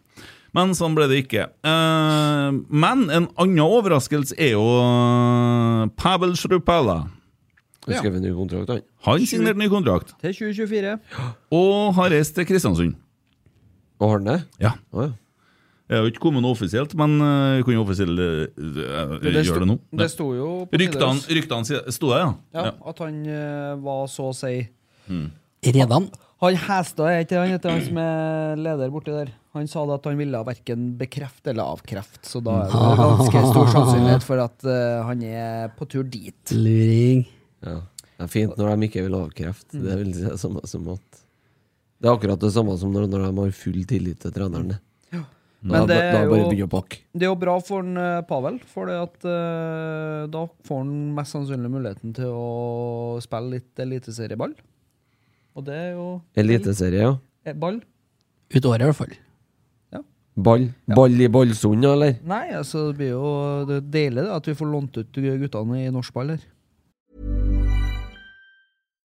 Men sånn ble det ikke. Eh, men en annen overraskelse er jo eh, Pavel Shrupala. Han skrev en ny kontrakt, han. Han signerte ny kontrakt Til 2024. og har reist til Kristiansund. Og har han det? Ja. Å, ja. Jeg har jo ikke kommet noe offisielt, men eh, vi kan jo offisielt eh, Men gjøre sto- det nå. det sto jo på Ryktene Nidaros. ryktene sier- sto der, ja. Ja, At han eh, var så å si Redan? Han Hestad er ikke han heter han som er leder borti der. Han sa da at han ville verken bekrefte eller avkrefte, så da er Ah. det ganske stor sannsynlighet for at eh, han er på tur dit. Luring. Ja. Det er fint når de ikke vil ha kreft. Det er vel det samme som at Det er akkurat det samme som når, når de har full tillit til treneren. det. Da, Men det da, er, bare begynner å jo, pakke. det er jo bra for en, eh, Pavel, for det at, eh, da får han mest sannsynlig muligheten til å spille litt eliteserieball. Og det er jo Eliteserie, ja. eh, ball. Ut året, i hvert fall. Ball. Ball i ballsund, ja, eller? Nei, altså det blir jo det er deilig det, at vi får lånt ut guttene i norsk ball her.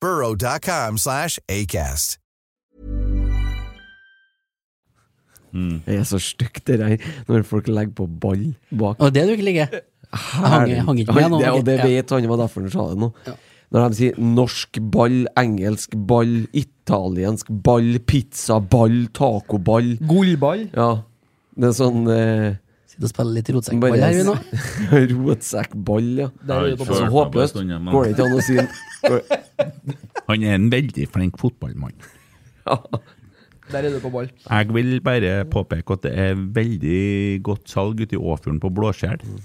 burrow.com slash ACAST. Det er så stygt, det der, når folk legger på ball bak. Og det du ikke Eh, liker? Jeg hang, jeg hang ikke med Han- nå. det- Og det Ja. vet han, det var derfor han sa det nå. Når de sier norsk ball, engelsk ball, italiensk ball, pizzaball, tacoball Gullball. Ja. Det er sånn eh, Sitter og spiller litt rotsekkball her, vi nå. Rotsekkball, ja. Der er vi på Det er så plass. håpløst. Ja, men- Går det ikke an å si Han er en veldig flink fotballmann. Der er du på ball. Jeg vil bare påpeke at det er veldig godt salg ute i Åfjorden på blåskjell. Mm.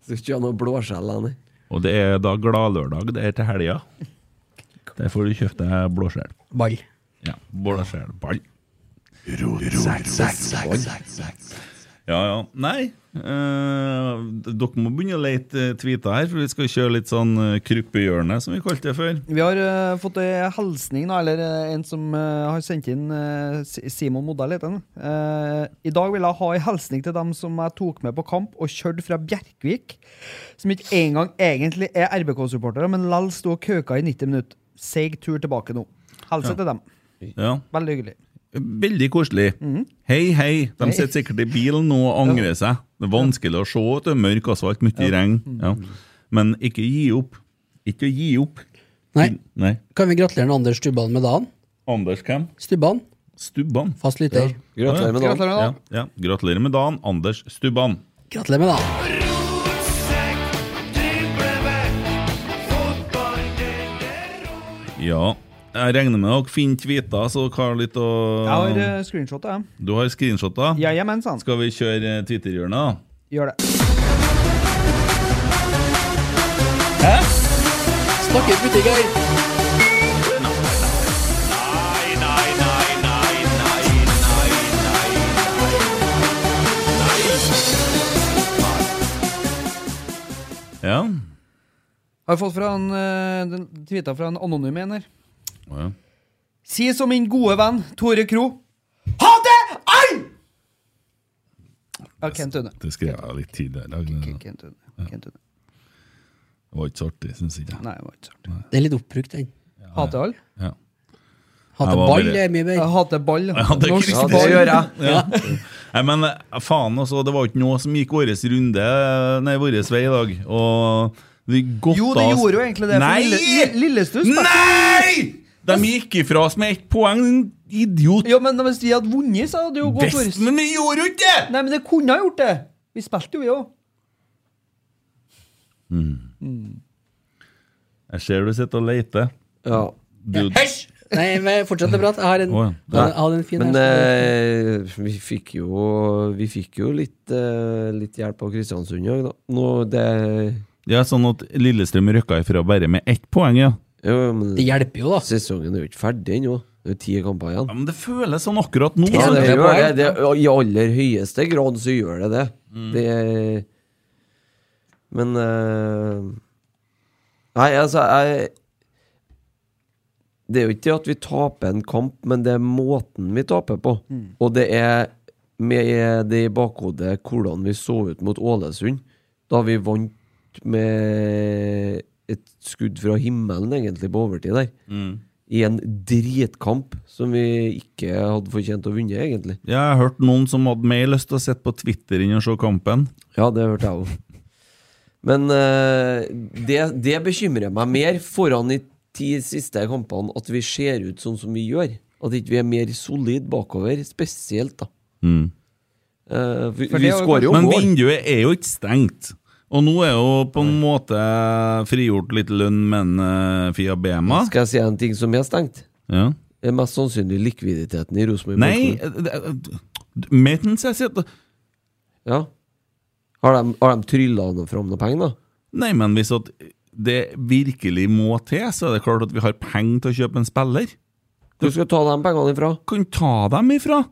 Skal ikke ha noe blåskjell, da, nei. Og det er da gladlørdag, det er til helga. Der får du kjøpt deg blåskjell. Ball. Ja, blåskjell, ball. Ja, ja. Nei, eh, dere må begynne å lete eh, tweeter her, for vi skal kjøre litt sånn eh, kryppehjørne, som vi kalte det før. Vi har eh, fått en hilsning, da, eller eh, en som eh, har sendt inn eh, Si- Simon Modell, heter han. Eh, I dag vil jeg ha en hilsning til dem som jeg tok med på kamp og kjørte fra Bjerkvik, som ikke engang egentlig er RBK-supportere, men likevel sto og kauka i 90 minutter. Seig tur tilbake nå. Hilse Ja. til dem. Ja. Veldig hyggelig. Veldig koselig. Hei, hei. De Hei. sitter sikkert i bilen nå og angrer seg. Det er vanskelig å se. vet du. Mørk asfalt, mye regn. Ja. Men ikke gi opp. Ikke å gi opp. Nei. Nei. Kan vi gratulere med Anders Stubban med dagen? Anders hvem? Stubban. Stubban. Fast lytter. Å, ja. Ja, ja. Gratulerer med dagen, Anders Stubban. Gratulerer med dagen. Ja. Jeg regner med dere finner tweeter, så dere har litt å Jeg har uh, screenshotet, jeg. Du har screenshoter? Jajamensan. Skal vi kjøre eh, Twitter-hjørnet, da? Gjør det. Hæ? Snakker butikk her. Ja. Har jeg fått fra en, eh, den tweeta fra en anonym en her. Å, ja. Si som min gode venn Tore Kro. Hater all! Ja, Kent Une. Det skrev jeg litt tidligere i dag. Kent Une. Kent Une. Det var ikke så artig, syns ikke jeg. Nei, det var ikke så Det er litt oppbrukt, den. Hater all? Ja. Hater Jeg var ball, bare- det er mye bedre. Jeg hater ball. Ja, det, Norsk Kristian. ball. Ja. Nei, men eh, faen, altså. Det var ikke noe som gikk vår runde, eh, nei, vår vei i dag. Og vi godt Jo, det av- gjorde jo egentlig det. for Nei! Lille- Li- Lillestuss Nei! De gikk ifra oss med ett poeng, din idiot. Ja, men hvis vi hadde vunnet, så hadde det jo gått Best, men vi gjorde jo ikke det! Nei, men det kunne ha gjort det! Vi spilte jo, vi òg. Jeg ser du sitter og leter. Ja. Du, Hysj! Nei, men fortsett å prate. Jeg har en, Å, ja. jeg har- jeg har en fin Men her. eh, vi fikk jo, vi fikk jo litt, eh, litt hjelp av Kristiansund òg, da. Nå, det, ja, sånn at Lillestrøm røkka ifra bare med ett poeng, ja. jo, men, Det hjelper jo, da. Sesongen er jo ikke ferdig ennå. Det er jo ti kamper igjen. ja men det føles sånn akkurat nå. Ja, det altså. gjør det. det I aller høyeste grad så gjør det det. det er- men eh, Nei, altså jeg, det er jo ikke det at vi taper en kamp, men det er måten vi taper på. Mm. Og det er med det i bakhodet hvordan vi så ut mot Ålesund, da vi vant med et skudd fra himmelen, egentlig, på overtid der. Mm. I en dritkamp som vi ikke hadde fortjent å vinne, egentlig. Jeg har hørt noen som hadde mer lyst til å sitte på Twitter enn å se kampen. Ja, det hørte jeg òg. Men eh, det, det bekymrer meg mer foran de ti siste kampene at vi ser ut sånn som vi gjør. At ikke vi er mer solid bakover, spesielt, da. Mm. Eh, vi vi skårer jo Men mål. vinduet er jo ikke stengt. Og nå er jo på en måte frigjort litt lønn, men eh, Fia Bema Skal jeg si en ting som er stengt? Ja. Det er mest sannsynlig likviditeten i Rosenborg. Nei, eh, Bank. Mertens jeg sier Ja. Har de, har de trylla noe fram noe penger, da? Nei, men hvis at det virkelig må til, så er det klart at vi har penger til å kjøpe en spiller. Du skal ta de pengene ifra? Kan ta dem ifra.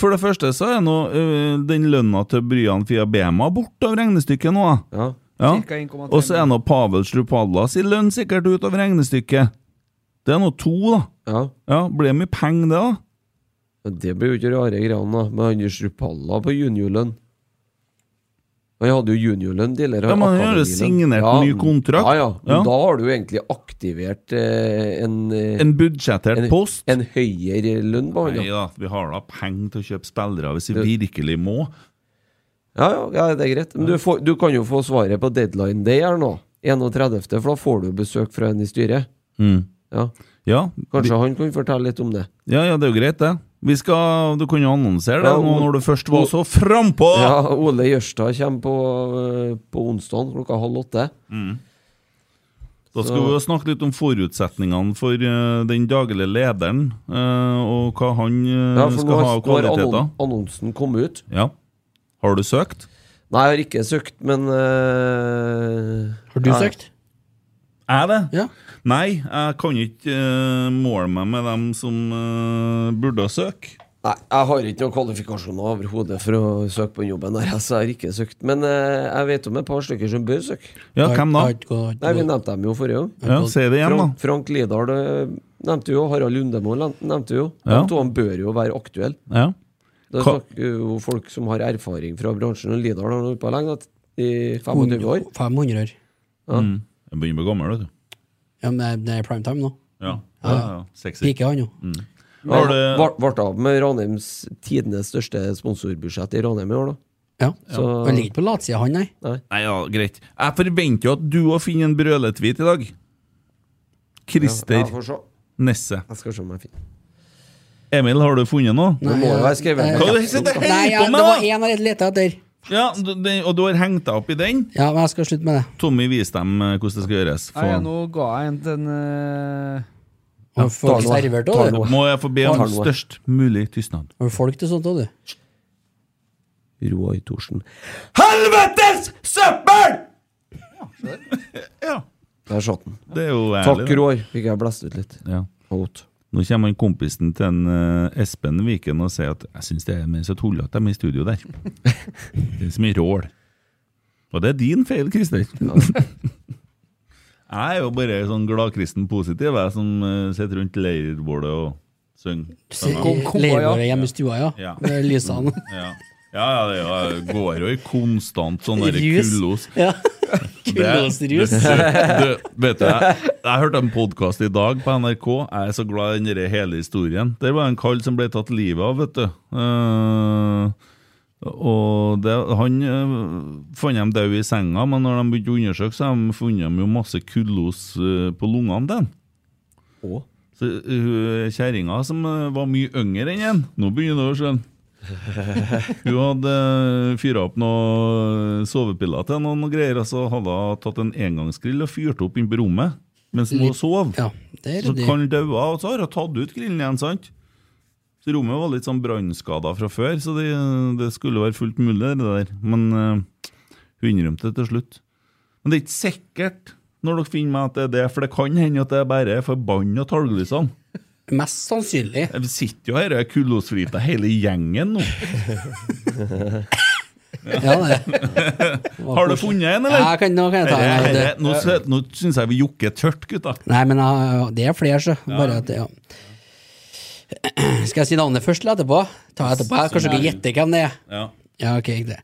For det første så er nå øh, den lønna til Bryan Fia Bema bort av regnestykket nå. Ja. Cirka 1,3 Og så er nå Pavel Strupalla sin lønn sikkert ut av regnestykket. Det er nå to, da. Ja. blir det mye penger, det, da? Men Det blir jo ikke rare greiene, da. Med Anders Rupalla på juniorlønn. Han hadde jo juniorlønn tidligere. Ja, men han har jo akademilønn. signert ny kontrakt. Ja, ja. Men Ja. da har du jo egentlig aktivert eh, en eh, En budsjettert en- post. En høyere lønn på han, Nei da, vi har da penger til å kjøpe spillere hvis vi virkelig må. Ja, ja, ja, det er greit. Men du, får, du kan jo få svaret på deadline day her nå. 31., for da får du besøk fra en i styret. Mm. Ja. Ja, Kanskje han kan fortelle litt om det. Ja, ja, det er jo greit, det. Vi skal, du kan jo annonsere det Ja, nå og- når du først var så frampå! Ja, Ole Jørstad kommer på, eh, på onsdag klokka halv åtte. Mm. Da Så- skal vi jo snakke litt om forutsetningene for eh, den daglige lederen, eh, og hva han eh, Ja, for nå skal ha har, av nå har kvaliteter. annon- annonsen kommet ut. Ja. Har du søkt? Nei, jeg har ikke søkt, men eh, Har du søkt? Er det? Nei, jeg kan ikke eh, måle meg med dem som eh, burde søke. Nei, jeg har ikke noen kvalifikasjoner overhodet for å søke på den jobben der, så jeg har ikke søkt. Men eh, jeg vet om et par stykker som bør søke. Ja, hvem da? Nei, Vi nevnte dem jo forrige gang. Ja, si det igjen, da. Frank, Frank Lidahl eh, nevnte jo, Harald Lundemo nev- nevnte jo. Ja. De to han bør jo være aktuelle. Ja. Det Hva- snakker jo folk som har erfaring fra bransjen, og Lidahl har holdt på lenge, da, i 25 år. 500 år. Ja. Mm. Jeg begynner å bli gammel, vet du. Ja, men det er- det er prime time nå. Ja. Ja, ja, ja. Sexy. Piker han jo. Mm. Ble det av med Ranheims tidenes største sponsorbudsjett i Ranheim i år, da? Ja. Så, Han ligger ikke på latsida, han, nei. Nei, ja, greit. Jeg forventer jo at du òg finner en brøletvit i dag. Christer Ja, jeg får se. Nesse. Jeg skal se om jeg finner Emil, har du funnet noe? Det må jo være skrevet Hva ned. er det du sitter og Nei, ja, holder på det med, var da? en av de lette etter. Ja, du, den- og du har hengt deg opp i den? Ja, men jeg skal slutte med det. Tommy, vis dem eh, hvordan det skal gjøres. Nei, Få- nå ga jeg en til en eh, Har folk servert òg, du? Må jeg få be om størst mulig tystnad? Har du folk til sånt òg, du? Roar Thorsen. Helvetes søppel! Der satt den. Det er jo ærlig, Takk, da. Roar. Fikk jeg blæst ut litt. Ja. Out. Nå kommer han kompisen til en, eh, Espen Viken og sier at jeg syns det er mer så tullete dem i studio der. det er så mye rål. Og det er din feil, Christer. jeg er jo bare sånn gladkristen positiv, jeg som eh, sitter rundt leirbålet og synger. Leirbålet hjemme i stua, ja. Ja. Med lysene. Ja. Ja, ja, det er jo- går jo i konstant sånn der Rus. kullos. Ja. Det- Kullosrus. det- det- Vet du, jeg, jeg hørte en podkast i dag på NRK. Jeg er så glad i den der hele historien. Det var en kall som ble tatt livet av, vet du. Eh, og det, han eh, fant dem død i senga, men når de begynte å undersøke, så har de funnet dem jo masse kullos eh, på lungene til han. Så uh, kjerringa som eh, var mye yngre enn en Nå begynner du å skjønne. Hun hadde fyra opp noen sovepiller til noen og greier, og så hadde hun tatt en engangsgrill og fyrt opp inne på rommet mens hun Litt- sov. det er så ryddig. kan hun daua, og så har hun tatt ut grillen igjen, sant? Så rommet var litt sånn brannskada fra før, så det, det skulle være fullt mulig, det der. Men eh, hun innrømte det til slutt. Men det er ikke sikkert når dere finner meg at det er det, for det kan hende at det bare er forbanna talglysene. Mest sannsynlig. Vi sitter jo her og er kullosfrita hele gjengen nå. Ja, det. Har du funnet en, eller? Ja, jeg kan- nå kan jeg ta en, Herre, herre, vet du. Nå, sø- nå syns jeg vi jokker tørt, gutta. Nei, men ah, det er flere, så. Bare at, ja. Skal jeg si navnet først eller etterpå? Ta etterpå. Jeg Kanskje dere gjetter hvem det er. Ja. Ja, ok, det.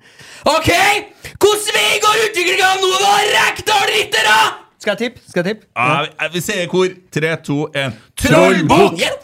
OK! Hvordan vi går utviklinga nå, da, Rekdal-ryttere? Skal jeg tippe? Skal jeg tippe? Ja, vi- vi sier hvor. Tre, to, én. Trollbukk! Trollbukk!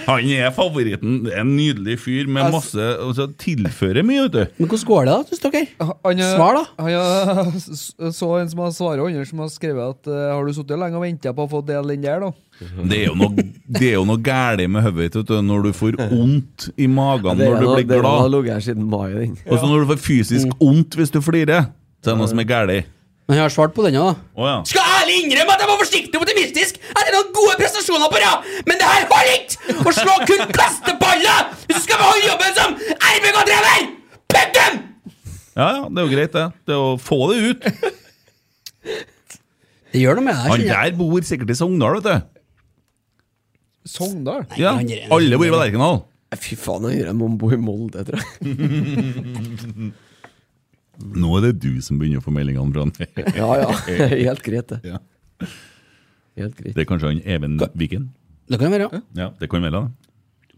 Han er favoritten. Det er En nydelig fyr med masse altså, Tilfører mye, vet du. Men hvordan går det, da, syns dere? Han, eh, Svar, da. Han, eh, s- så en som har svaret, og andre som har skrevet at eh, har du sittet lenge og venta på å få dele den der, da? Det er jo noe, det er jo noe gærlig med hodet ditt vet du, når du får vondt i magen Det er når du noe- blir det er noe glad. har ligget her siden mai. Den. Og så når du får fysisk vondt hvis du flirer, så er det noe som er gærent. Men jeg har svart på den òg, da. Å ja. Skal ærlig innrømme at jeg var forsiktig og optimistisk etter noen gode prestasjoner på rad, men det her holder ikke! Å slå kun kasteballer hvis du skal beholde jobben som RBK-trener! Punktum! Ja, ja, det er jo greit, det. Det er å få det ut. Det gjør noe med deg. Han der bor sikkert i Sogndal, vet du. Sogndal? Ja, alle bor i Lerkendal. Fy faen, han gjør jeg må bo i Molde, tror jeg. Nå er det du som begynner å få meldingene, Brann. ja, ja. Helt greit, det. Ja. Helt greit. Det er kanskje han Even Viken? Det kan være, ja. Ja, det kan være det.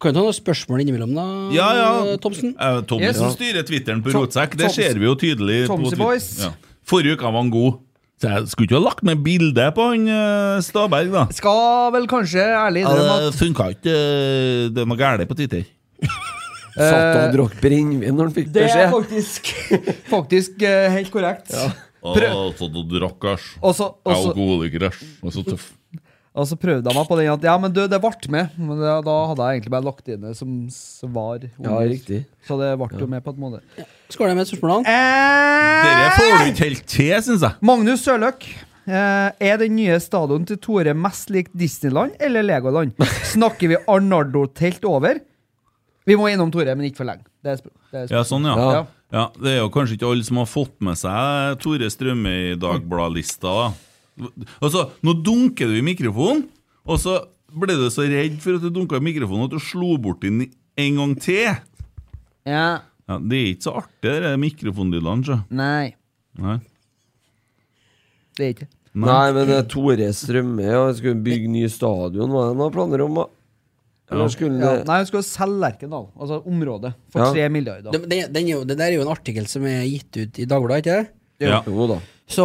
Kan du ta noen spørsmål innimellom, da, Ja, ja. Thomsen? Eh, Tommy Yes. som styrer Twitteren på Tom- Rotsekk, det Toms- ser vi jo tydelig. på Tomsy Twitter. boys. Ja. Forrige uka var han god. Så jeg skulle ikke ha lagt med bilde på han eh, Staberg, da. Skal vel kanskje ærlig Ja, innrømme det funka ikke. eh, Det er noe galt på Twitter. Satt og drakk brennevin når han fikk at det er beskjed. faktisk, faktisk eh, helt korrekt. Prøv, så du drakk, æsj. Og så- og så- Alkoholiker, æsj. Og så tøff. og så prøvde jeg meg på den at ja, men du, det ble med. Men det, da hadde jeg egentlig bare lagt det inn det som svar. Ja, riktig. Så det ble jo med på en måte. Skål med spørsmålene. Dere får du ikke helt til, syns jeg. Magnus Sørløk. eh, er den nye stadion til Tore mest lik Disneyland eller Legoland? Snakker vi Arnardo-telt over? Vi må innom Tore, men ikke for lenge. Det er sp- det er sp- Ja, sånn, ja. Ja. ja. Det er jo kanskje ikke alle som har fått med seg Tore Strømme i Dagbladet-lista. da. Altså, nå dunker du i mikrofonen, og så ble du så redd for at du dunka i mikrofonen at du slo bort den en gang til. Ja, Ja, det er ikke så artig, de mikrofonlydene. sjø. Nei, Nei. det er ikke Nei. Nei, men eh, Tore Strømme ja, skulle bygge ny stadion, hva er det han har planer om? da? Eller skulle ja. Nei, hun skulle selge Lerkendal, altså området, for Ja. tre milliarder. Det, det, den er jo, det der er jo en artikkel som er gitt ut i Dagbladet, ikke det? Ja. Jo da. Så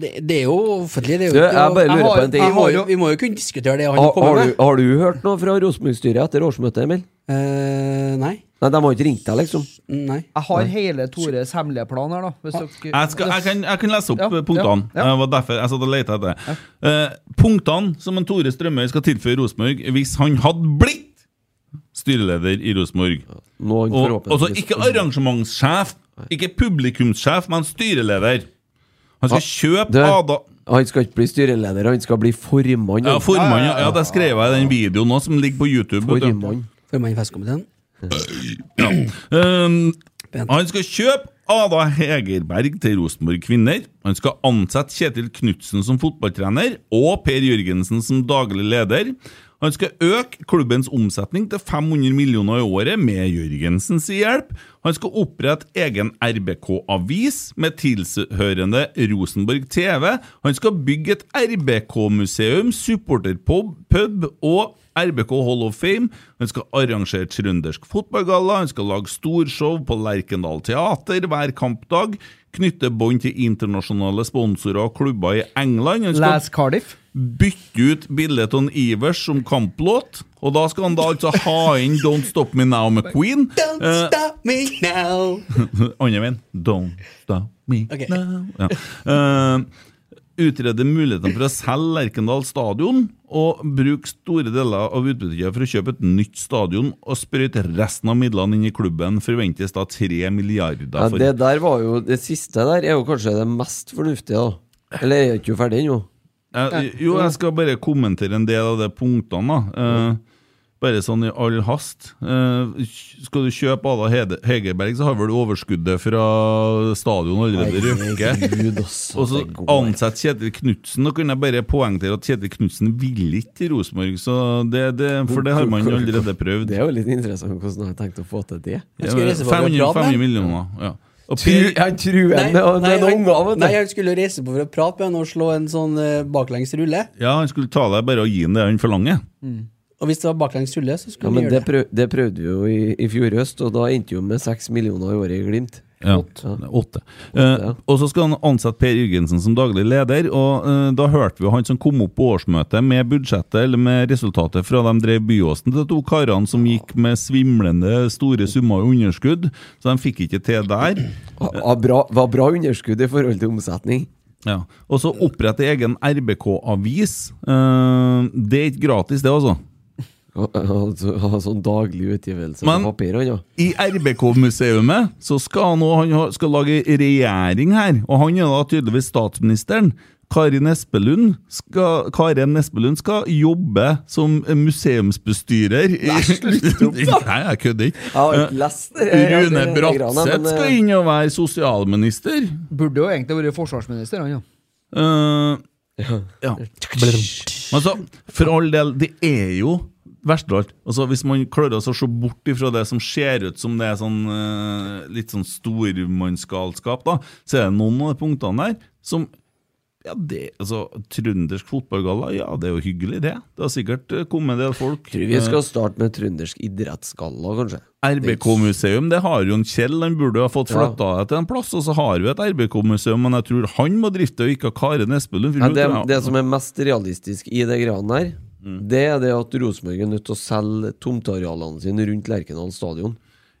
det, det er jo offentlig. Det er jo, Du, ikke- jeg bare lurer har- på en ting. jeg har jo- Vi må jo kunne diskutere det han Har, kommer har, med. du, har du hørt noe fra Rosenborg-styret etter årsmøtet, Emil? Eh, nei. Nei, De har ikke ringt deg, liksom? Nei. Jeg har hele Tores hemmelige plan her, da. Hvis dere, Jeg, skal, jeg, kan, jeg kan lese opp eh, punktene. ja, Det var derfor jeg satt og lette etter det. Eh, punktene som en Tore Strømøy skal tilføye Rosenborg hvis han hadde blitt styreleder i Rosenborg. Noen Og, forhåpentligvis- altså ikke arrangementssjef, ikke publikumssjef, men styreleder. Han skal kjøpe Du, Ada Han skal ikke bli styreleder, han skal bli formann. Ja, formann. Ja, ja, det skrev jeg i den videoen nå, som ligger på YouTube. vet du. Formann. Formann i festkomiteen. Um, han skal kjøpe Ada Hegerberg til Rosenborg Kvinner. Han skal ansette Kjetil Knutsen som fotballtrener og Per Jørgensen som daglig leder. Han skal øke klubbens omsetning til 500 millioner i året med Jørgensens hjelp. Han skal opprette egen RBK-avis med tilhørende Rosenborg TV. Han skal bygge et RBK-museum, supporterpub pub og RBK Hall of Fame. Han skal arrangere trøndersk fotballgalla, han skal lage storshow på Lerkendal Teater hver kampdag, knytte bånd til internasjonale sponsorer og klubber i England. Han skal Les Cardiff. bytte ut bildet av en Ivers som kamplåt, og da skal han da altså ha inn Don't Stop Me Now med Queen. Don't Eh, stop me now. Andre veien. Don't stop me Ok. now. Ja. Eh, utrede mulighetene for å selge Lerkendal stadion og bruke store deler av utbyttet for å kjøpe et nytt stadion og sprøyte resten av midlene inn i klubben. Forventes da tre milliarder. Ja, For. det der var jo Det siste der er jo kanskje det mest fornuftige, da. Eller er det ikke ferdig ennå? Eh, jo, jeg skal bare kommentere en del av de punktene. da. Eh, Bare sånn i all hast. Eh, skal du kjøpe Ada Hede- Hegerberg, så har vel overskuddet fra stadion allerede Herregud, røkket. altså, Og så det ansett Kjetil Knutsen. Nå kunne jeg bare poengtere at Kjetil Knutsen ville ikke til Rosenborg, så det, det, for det har man jo allerede prøvd. Det er jo litt interessant hvordan han har tenkt å få til det. Ja, 500, 500 millioner, ja. Og Tru- Han truer Nei, henne, og det er nei, en unge av Nei, han skulle jo reise på for å prate med henne og slå en sånn eh, baklengs rulle. Ja, han skulle ta deg bare og gi han det han forlanger. Og hvis det var baklengs rulle, så Ja, skulle han men gjøre det, det. prøv, det prøvde vi jo i, i fjor høst, og da endte jo med seks millioner i året i Glimt. Ja, det er åtte. Eh, og så skal han ansette Per Jørgensen som daglig leder, og eh, da hørte vi jo han som kom opp på årsmøtet med budsjettet, eller med resultatet fra de drev Byåsen, til de to karene som gikk med svimlende store summer i underskudd, så de fikk ikke til der. Var bra, var bra underskudd i forhold til omsetning. Ja. Og så opprette egen RBK-avis. Eh, det er ikke gratis, det, altså. Ha sånn daglig utgivelse Men- på papir. Han, ja. I RBK-museumet så skal han, også, han har- skal lage regjering her, og han er da tydeligvis statsministeren. Karin Espelund skal, Karen Espelund skal jobbe som museumsbestyrer i- Nei, jeg kødder ikke. Jeg har ikke lest eh, det. Jeg- jeg- Eh, Rune jeg- jeg- Bratseth men, eh, skal inn og være sosialminister. Burde jo egentlig vært forsvarsminister, han, ja. Eh, ja. Men altså, for all del, det er jo verst av alt. Altså, hvis man klarer å se bort ifra det som ser ut som det er sånn eh, litt sånn stormannsgalskap, da, så er det noen av de punktene der som ja, det, altså, Trøndersk fotballgalla, ja, det er jo hyggelig, det. Det har sikkert eh, kommet en del folk. Tror vi skal starte med trøndersk idrettsgalla, kanskje. Eh, RBK-museum, det har jo en Kjell, han burde jo ha fått Ja. flytta det til en plass. Og så har vi et RBK-museum, men jeg tror han må drifte, og ikke Karen Espelund. for Ja, hun det, tror jeg- Mm. det som er mest realistisk i det greiene der, det er det at Rosenborg er nødt til å selge tomtearealene sine rundt Lerkendal stadion.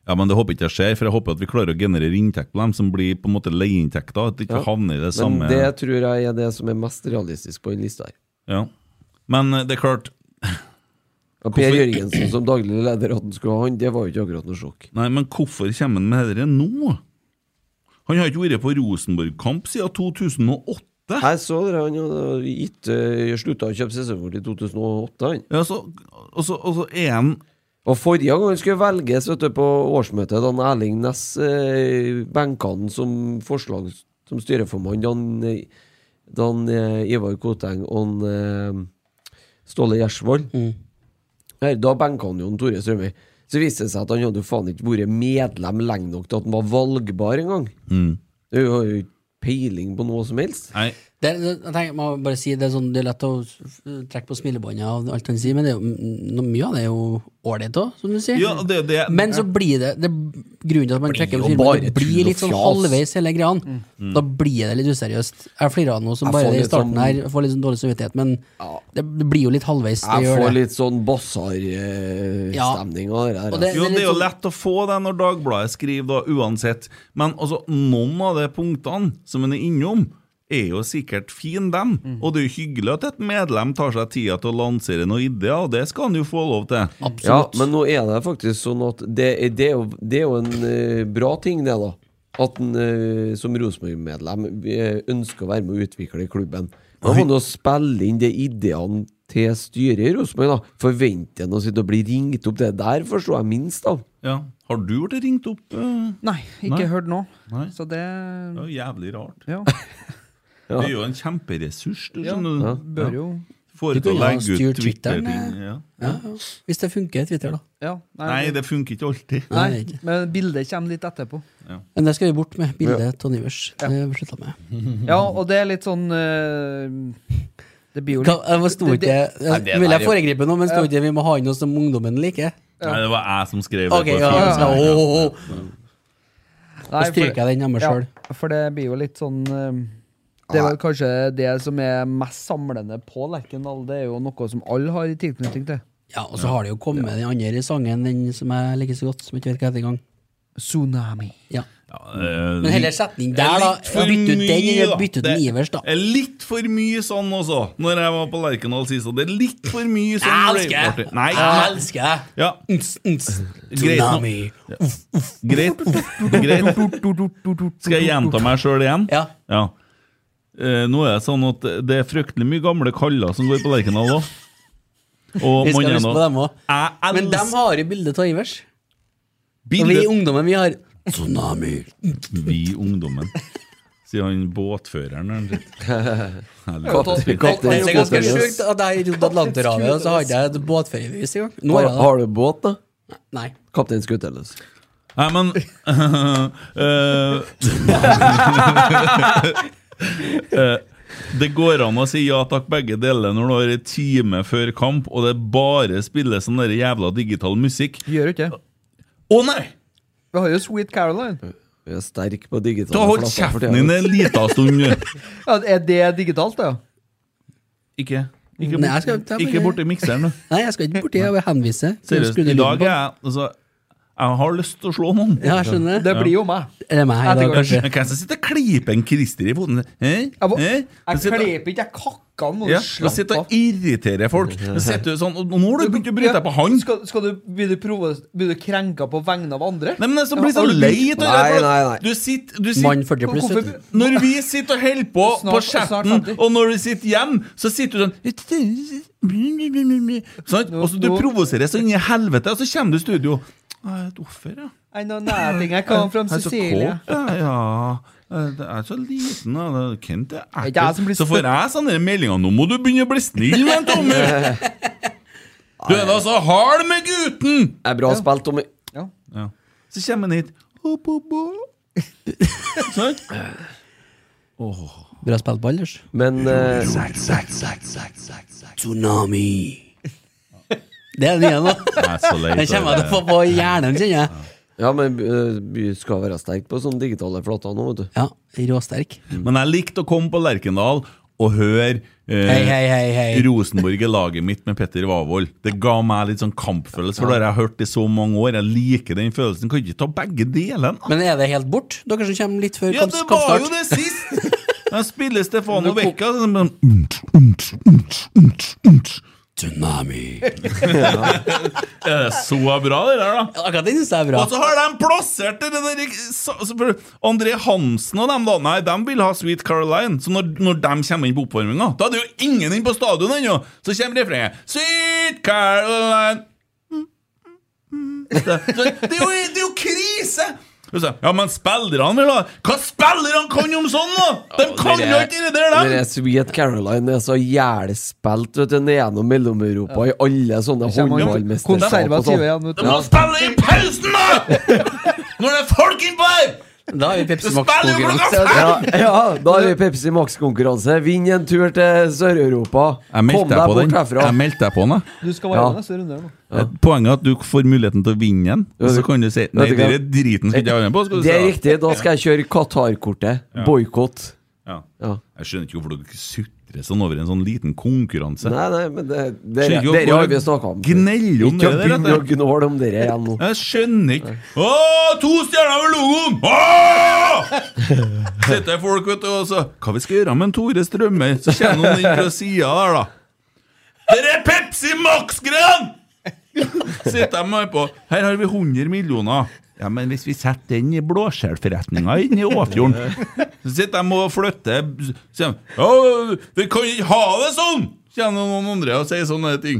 Ja, men Det håper ikke jeg skjer, for jeg håper at vi klarer å generere inntekt på dem som blir på en måte leieinntekter. At det ikke Ja. havner i det samme Men det tror jeg er det som er mest realistisk på den lista her. ja. men eh, det er klart Og Per Hvorfor- Jørgensen som daglig leder, at han skulle ha han, det var jo ikke akkurat noe sjokk. Nei, men hvorfor kommer han med dette nå? Han har ikke vært på Rosenborg-kamp siden 2008. Jeg så det, han hadde gitt, eh, slutta å kjøpe sesongkort i 2008, han. Ja, så, og så, og så er han Og forrige gang han skulle velges vet du, på årsmøtet, da han Erling Næss eh, benka han som forslag som styreformann, da han, eh, da han eh, Ivar Koteng og han, eh, Ståle Gjersvold Her, Da benka han jo han Tore Strømøy. Så viste det seg at han hadde jo faen ikke vært medlem lenge nok til at han var valgbar engang. Mm. Du har jo ikke peiling på noe som helst. Nei. Det, er- jeg tenker, man må bare si, det, er sånn, det er lett å eh, trekke på smilebåndet av alt han sier, men det er jo, mm, noe mye av det er jo ålreit òg, som du sier. Ja, det- det- men så blir det, det Grunnen til at man trekker jo på smilebåndet, bare det blir litt sånn tull og fjas. halvveis hele greia. Mm. Da blir det litt useriøst. Jeg flirer av noe som Jeg bare får det i litt starten sånn- her. Jeg får litt sånn dårlig samvittighet, men det, det blir jo litt halvveis. Det Jeg gjør får det. litt sånn bassarstemning av det der. Og det- sånn- altså. Jo, det er jo lett å få det når Dagbladet skriver, da, uansett. Men altså, noen av de punktene som en er innom, er jo sikkert fin dem. Mhm. Og det er jo hyggelig at et medlem tar seg tida til å lansere noen ideer, og det skal han jo få lov til. Ja, men nå er det faktisk sånn at det, er- det, er, jo, det er jo en eh, bra ting, det, da. At en eh, som Rosenborg-medlem eh, ønsker å være med å utvikle klubben. Da må en jo spille inn de ideene til styret i Rosenborg, da. Forventer en å sitte og bli ringt opp? Det der forstår jeg minst, da. Ja. Har du blitt ringt opp? eh? Nei, ikke Nei. hørt nå. Nei. Så det Det er jo jævlig rart. Ja. Det er jo en kjemperessurs, du Ja, skjønner. ja. bør jo- Får Du til å kunne ha legge styrt ut Twitteren, eh. Twitter-ting. Ja. Ja, ja. Hvis det funker, Twitter, da. Ja, Nei, det funker ikke alltid. Nei, men bildet kommer litt etterpå. Men det skal vi bort med. Ja. Bildet av Nivers. Det slutta med. Ja, og det er litt sånn eh, Det blir jo Hva, jeg var- sto det- ikke det- jeg- Vil jeg foregripe noe, men sto ikke vi må ha inn noe som ungdommen liker? Nei, det var jeg som skrev det. sånn. Ok, på ja, ja, Twitter. ja. Oh, Åh, åh, Nei, Da for- stryker jeg den hjemme ja, selv. For det blir jo litt sånn eh, Det er vel kanskje det som er mest samlende på Lerkendal. Det er jo noe som alle har i tilknytning til. Ja, og så har det jo kommet den andre sangen, den som jeg liker så godt, som jeg ikke vet hva heter engang. Tsunami. Ja. Eh, Men heller setning der, da. litt for Bytt ut den, mye, eller da. bytt ut Det Nivers, da. er litt for mye sånn også, når jeg var på Lerkendal sist. og Det er litt for mye sånn Jeg elsker raveparty. det! Nei, Jeg elsker det! Ja. Greit nå. Tsunami. Ja. Greit. Greit. Skal jeg gjenta meg sjøl igjen? Ja. Eh, nå er det sånn at det er fryktelig mye gamle kaller som går på Lerkendal òg. Og Vi skal man er huske nå- på dem også. Jeg Men dem har jo bildet av Ivers. Og Bildet- vi ungdommen, vi har Tsunami. Vi ungdommen. Sier han båtføreren. han sitter. Helvete. Det er ganske sjukt at jeg rodde Atlanterhavet, og så hadde jeg et båtferiebevis i gang. Nå har Har, jeg det. har du båt, da? Nei. Kaptein Skuteløs. Nei, men eh, eh, Det går an å si ja takk, begge deler når du har en time før kamp, og det bare spilles sånn der jævla digital musikk. Gjør ikke det. Å nei! Vi har jo Sweet Caroline. Vi er sterk på digitale Da hold flater for kjeften din tiden. en liten stund. du. Ja, er det digitalt, da? Ikke Ikke, Nei, jeg skal bort, ta på ikke det. borti mikseren, du. Nei, jeg skal ikke borti, jeg vil henvise. Seriøst, Skru ned i dag lyden er på. jeg altså, Jeg har lyst til å slå noen. Ja, jeg skjønner. Det blir jo meg. Er det meg i Jeg dag, tenker, kanskje? Hvem som sitter og klyper en Christer i foten? Hæ? Jeg, Hæ? jeg Du sitter- kleper ikke, jeg kakka nå. Ja, slapp og sitter av. og irriterer folk. Så sitter du sånn, og Nå har du begynt å bryte deg på han! Skal, skal du, blir, du provo- blir du krenka på vegne av andre? Nei, men det sånn- som blir så lei av det Nei, for nei, nei. Du sitter, du sitter Mann 40 pluss, vet du. Når vi sitter og holder på Snart- på snart chatten, ferdig. og når du sitter hjemme, så sitter du sånn Sant? Og så du nå- provoserer så inn i helvete, og så kommer du i studio. Jeg er et offer, ja. I know nothing, I come from Jeg er så Sicilia. kåt, jeg, ja. Jeg er så liten, da. Kent Det er er jeg som ekkel. blir Så får jeg sånne meldinger. 'Nå må du begynne å bli snill med en Tommy!' Du er da så hard med gutten! Det er bra spilt, Tommy. Ja. Så kommer han hit. Opp, opp, opp. Sånn. Bra spilt på alders. Men eh, Tsunami. Det er den nye nå. Jeg er så lei Den kommer jeg til å få av det. på hjernen, kjenner jeg. Ja, men eh, vi skal være sterk på sånne digitale flater nå, vet du. Ja, råsterk. Men jeg likte å komme på Lerkendal og høre eh, Hei, hei, hei, hei. Rosenborg er laget mitt med Petter Wavold. Det ga meg litt sånn kampfølelse, for det har jeg hørt i så mange år. Jeg liker den følelsen. Kan ikke ta begge delene. Men er det helt bort? Dere som kommer litt før Ja, kamp- det var jo kampstart? det sist! De spiller Stefano Men Vecca. sånn, men- Tsunami. Er det så bra, det der, da? Akkurat den syns jeg er bra. Og så har de plassert det der så- så- for André Hansen og dem, da. Nei, de vil ha Sweet Caroline. Så når, når de kommer inn på oppvarminga Da er det jo ingen inn på stadion ennå! Så kommer refrenget. Sweet Caroline så, så, det, er jo, det er jo krise! Og så, Ja, men spillerne vil ha Hva spillerne kan om sånn, da?! De kan jo ikke det der, Dere dem! Sweet Caroline er så jævlig spilt, vet du. Ned gjennom Mellom-Europa i alle sånne kommer håndballmesterskap og konservative sånn. igjen, vet De må spille i pausen, da! Når det er folk innpå her! Da har vi Pepsi Du spiller jo Max-konkurranse. klokka Ja, ja, da har vi Pepsi Max-konkurranse. Vinn en tur til Sør-Europa. Kom deg bort herfra. meldte deg på den. da. Du skal være Ja. med neste runde her nå. Eh, Poenget er at du får muligheten til å vinne en, og så kan du si Vet Nei, du det hva? er driten skal ikke jeg være med på. Skal du Det er si, da. riktig. Da skal jeg kjøre Qatar-kortet. Boikott. Ja. Ja. Jeg skjønner ikke hvorfor dere sutrer sånn over en sånn liten konkurranse. Nei, nei, men det, dere, Skjønner ikke dere har hvorfor vi snakka om. gneller om Ikke det der, begynn å vet du. gnåle om dere igjen nå. Jeg skjønner ikke Å, to stjerner over logoen! Åh! Sitter folk vet du, og så Hva vi skal gjøre med en Tore Strømøy? Så kommer noen inn fra sida der, da. Dere er Pepsi Max-greiene! Sitter de her på Her har vi 100 millioner. Ja, men hvis vi setter den i blåskjellforretninga inne i Åfjorden Så sitter de og flytter så sier de, «Å, Vi kan ikke ha det sånn! Kjenner noen andre og sier sånne ting.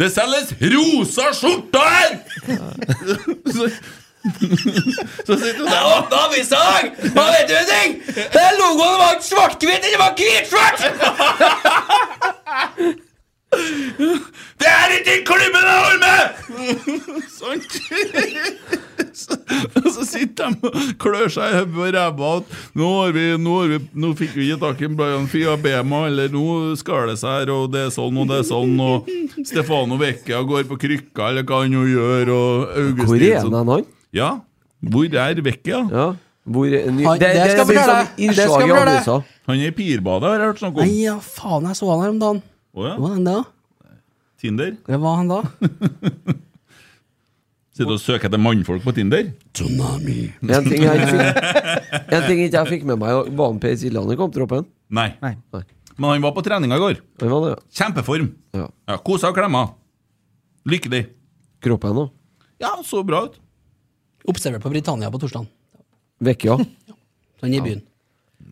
Det selges rosa skjorter her! Så, så sitter de Jeg der åpna avisa i dag! Og vet du en ting? Den logoen var ikke svart-hvit, den var hvit-svart! Det er ikke den klubben jeg holder med! sånn. så, og så sitter de og klør seg i hodet og ræva at nå, har vi, nå, har vi, nå fikk vi ikke tak i Brian Fiabema, eller nå skal det seg her, og det er sånn, og det er sånn, og Stefano Vecchia går på krykka, eller hva han nå gjør, og Hvor er sånn- han Augustin hen, han? Ja, hvor er Vecchia? Ja. Hvor er ny... Han- Det, det, det skal blir fortelle. sånn Det skal innslag i fortelle. avisa. Han er i Pirbadet, har jeg hørt snakk Nei, om. ja, faen, jeg så han her om dagen. Å Hvor ja, var han da? Tinder. Hvor var han da? Sitter og søker etter mannfolk på Tinder. Tsunami. En ting jeg ikke fikk, en ting ikke jeg fikk med meg, var han Per Siljan i kamptroppen? Nei. Nei. Nei. Men han var på treninga i går. Han var det, Kjempeform. ja. ja. Ja, Kosa og klemma. Lykkelig. Kroppen òg. Ja, så bra ut. Observer på Britannia på torsdag. Vekkja. Han er i byen.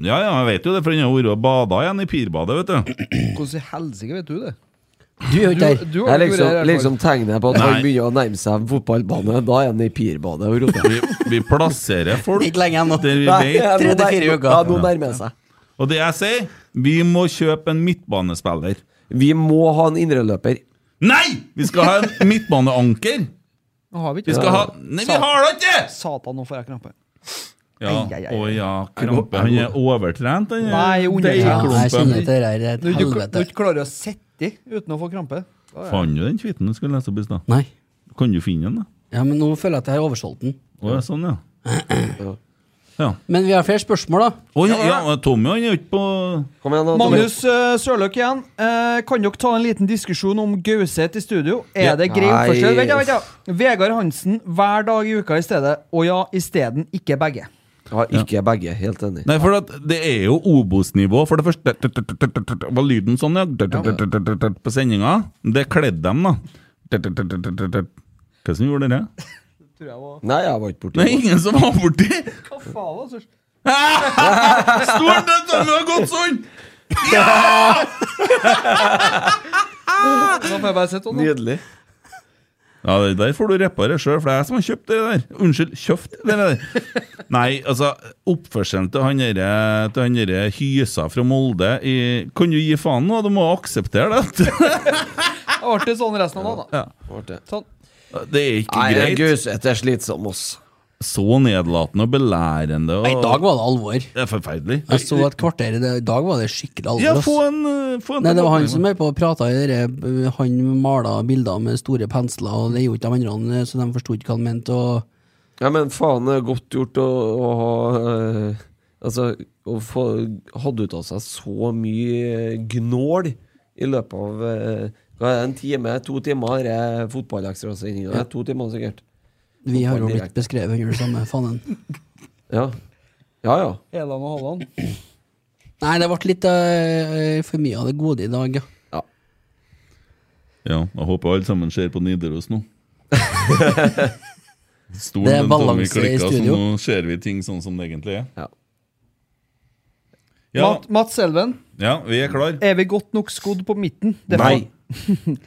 Ja, ja, jeg vet jo det, for han har vært og bada igjen i pirbadet, vet du. Hvordan i helsike vet du det? Du er jo ikke der. Jeg liksom, liksom tegner jeg på at han Nei. begynner å nærme seg en fotballbane. Da er han i pirbadet og roter. Vi, vi plasserer folk Ikke lenge ennå. der vi Nei, vet ja, nå Tre til nær- fire uker. ja, nå nærmer det seg. Og det jeg sier, vi må kjøpe en midtbanespiller. Vi må ha en indreløper. Nei! Vi skal ha en midtbaneanker! Nå har vi ikke Vi skal det. ha- Nei, vi har det ikke! Satan, nå får jeg krampe. Ja, Ai, ai, ai. Å ja, krampe. Han er overtrent, han. Nei, deigklumpen. Når du, når du ikke klarer å sitte uten å få krampe da er- Fant du den tweeten du skulle lese opp i stad? Nei. Kan du finne den, da? Ja, men nå føler jeg at jeg har oversolgt den. Å, ja, sånn, ja. ja. Men vi har flere spørsmål, da. Å, ja, ja, Tommy han er jo ikke på Kom igjen, Magnus eh, Sørløk igjen. Eh, kan dere ta en liten diskusjon om Gauseth i studio? Er Ja. det grei Nei, oppførsel? Vent, da, vent, da. Vegard Hansen hver dag i uka i stedet. Og ja, isteden ikke begge. Ja, ikke begge. Helt enig. Nei, for at det er jo Obos-nivå. For det første var lyden sånn, ja. På sendinga. Det kledde dem, da. Hva som gjorde dere? Nei, jeg var ikke borti Det er ingen som var borti! Hva faen, altså? Stolen den den har gått sånn! Ja! Da får jeg bare sette den. Nydelig. Ja, det der får du reparere sjøl, for det er jeg som har kjøpt det der. Unnskyld, kjøpt det der. Nei, altså, oppførselen til han derre- til han derre hysa fra Molde i, Kan du gi faen nå? Du må akseptere det. Det ble sånn resten av dagen, da. Sånn. Det er ikke Nei, greit. Gauseth er slitsom, ass. Så nedlatende og belærende. Og Nei, I dag var det alvor. Det er forferdelig. Jeg så et kvarter i det. I dag var det skikkelig alvor. Ja, ass. få en, eh, få en Nei, det var han tilbakemelding. som er på og prata i det der, eh, Han mala bilder med store pensler, og det gjorde ikke de andre, så de forsto ikke hva han mente. Og Ja, men faen, det er godt gjort å, å ha eh, Altså, å få hatt ut av seg så mye eh, gnål i løpet av eh, hva er det, en time, to timer er fotballekstrasendinga. Ja. Ja. To timer, sikkert. vi har jo Fotball blitt beskrevet eh, under det samme, fanen. Ja. Ja, ja. Helan og Halland. Nei, det ble litt eh, for mye av det gode i dag, ja. Ja, jeg håper alle sammen ser på Nidaros nå. Stolen Det er den Tommy balanse i klikket, så studio. Nå ser vi ting sånn som det egentlig er. Ja, ja, Mat, Mats Elven, vi er klar. er vi godt nok skodd på midten? Det er faen-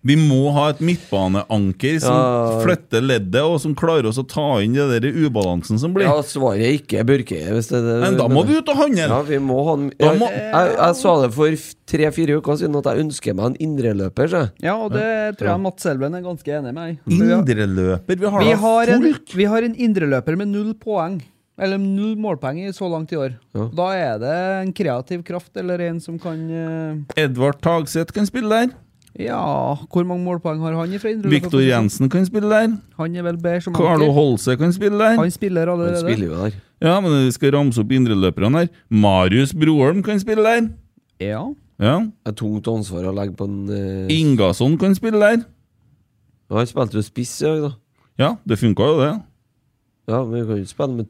Vi må ha et midtbaneanker som Ja. flytter leddet, og som klarer oss å ta inn det der ubalansen som blir. ja svaret er ikke Børke. Hvis det, er det, Men da du må mener. vi ut og handle. Ja, vi må ha en Da jeg, må- jeg, jeg sa det for f- tre-fire uker siden at jeg ønsker meg en indreløper. Ja, og det tror jeg Mats Elven er ganske enig med. meg. Mm. For vi har- Indreløper. Vi har, Vi da har, folk. en, vi har en indreløper med null poeng. Eller null målpoeng i så langt i år. Ja. Da er det en kreativ kraft, eller en som kan eh, Edvard Tagseth kan spille der. Ja, hvor mange målpoeng har han fra indreløper? Viktor Jensen kan spille der. Han er vel bedre som Carlo Holse kan spille der. Han spiller allerede. Han spiller jo der. Ja, men vi skal ramse opp indreløperne her. Marius Broholm kan spille der. Ja. Mm. Ja. Et tungt ansvar å legge på en eh, Ingasson kan spille der. Ja, Han spilte jo spiss i dag, da. Ja, det funka jo, det. Ja, men vi kan jo ikke spille med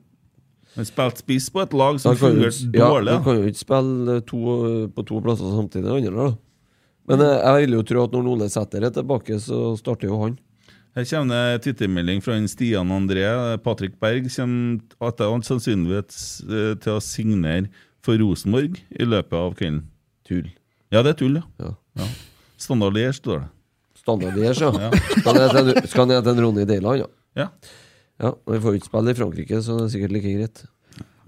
Han spilte spiss på et lag som Han kan jo fungerte ikke- dårlig. Ja, da. du kan jo ikke spille eh, to, på to plasser samtidig. det Andre, da. Men eh, jeg vil jo tro at når Ole Sæter er tilbake, så starter jo han. Her kommer det twittermelding fra en Stian André. Patrick Berg kommer etter all sannsynlighet eh, til å signere for Rosenborg i løpet av kvelden. Tull. Ja, det er tull, ja. ja. Standard Lier står det. Standard i Ers, ja. Ja. Skal ned til en- Skal ned til en Ronny Deiland, ja. Ja, og Vi får jo ikke spille i Frankrike, så det er sikkert like greit.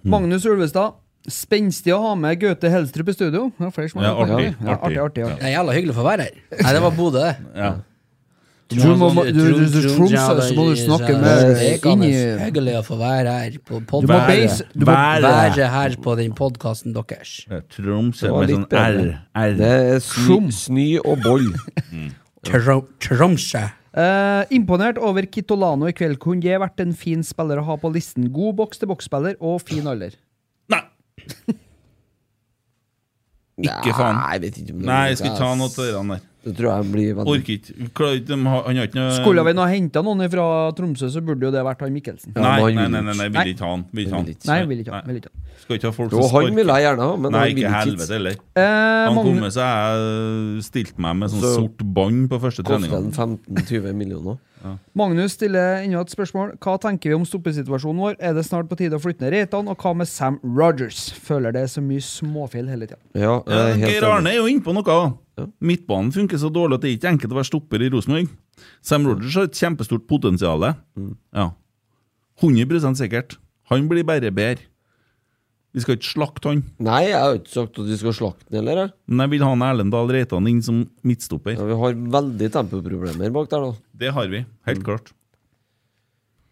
Magnus Ulvestad. Spenstig å ha med Gaute Helstrup i studio. Det er flere som har Ja, gjort det. artig, Ja, artig. artig, artig, artig. Det er jævla hyggelig å få være her. Nei, det var Bodø, det. Ja. Du sånn må- du- du- du- Tromsø, så må du snakke med- inni- Hyggelig å få være her på podden. Du må beise- du må- Være- Være. Være her på den podkasten deres. Tromsø Det var med litt sånn R. bedre. Det er sny, sny og boll. Trom- Tromsø. Eh, imponert over Kitolano i kveld. Kunne det vært en fin spiller å ha på listen? God boks-til-boks-spiller og fin alder. Ikke faen. Nei, jeg vet ikke om det- Nei, jeg skal ikke ta noe av det der. Det tror jeg blir veldig Orker ikke. Klarer ikke, de har- Han har ikke noe Skulle vi nå henta noen fra Tromsø, så burde jo det vært han Mikkelsen. Nei, nei, nei, nei, nei, vil ikke ha han. Vil ikke ha han. Nei, vil ikke ha han, vil ikke ha han. Skal ikke ha folk Jo, som han sparker. vil jeg gjerne ha, men Nei, han vil ikke ikke hit. helvete heller. Eh, han kom Magne- med seg jeg stilte meg med sånn Så- sort bånd på første Koster treninga. den 15-20 millioner? Magnus stiller enda et spørsmål. Hva tenker vi om stoppesituasjonen vår? Er det snart på tide å flytte ned Reitan, og hva med Sam Rogers? Føler det er så mye småfeil hele tida. Ja, jeg er helt Geir enig. Arne er jo inne på noe. da. Midtbanen funker så dårlig at det er ikke enkelt å være stopper i Rosenborg. Sam Rogers har et kjempestort potensial. Mm. Ja. 100 sikkert. Han blir bare bedre. Vi skal ikke slakte han. Nei, jeg har ikke sagt at vi skal slakte han heller. jeg. Men jeg vil ha en Erlend Dahl Reitan inn som midtstopper. Ja, vi har veldig tempoproblemer bak der, da. Det har vi, Mm. helt klart.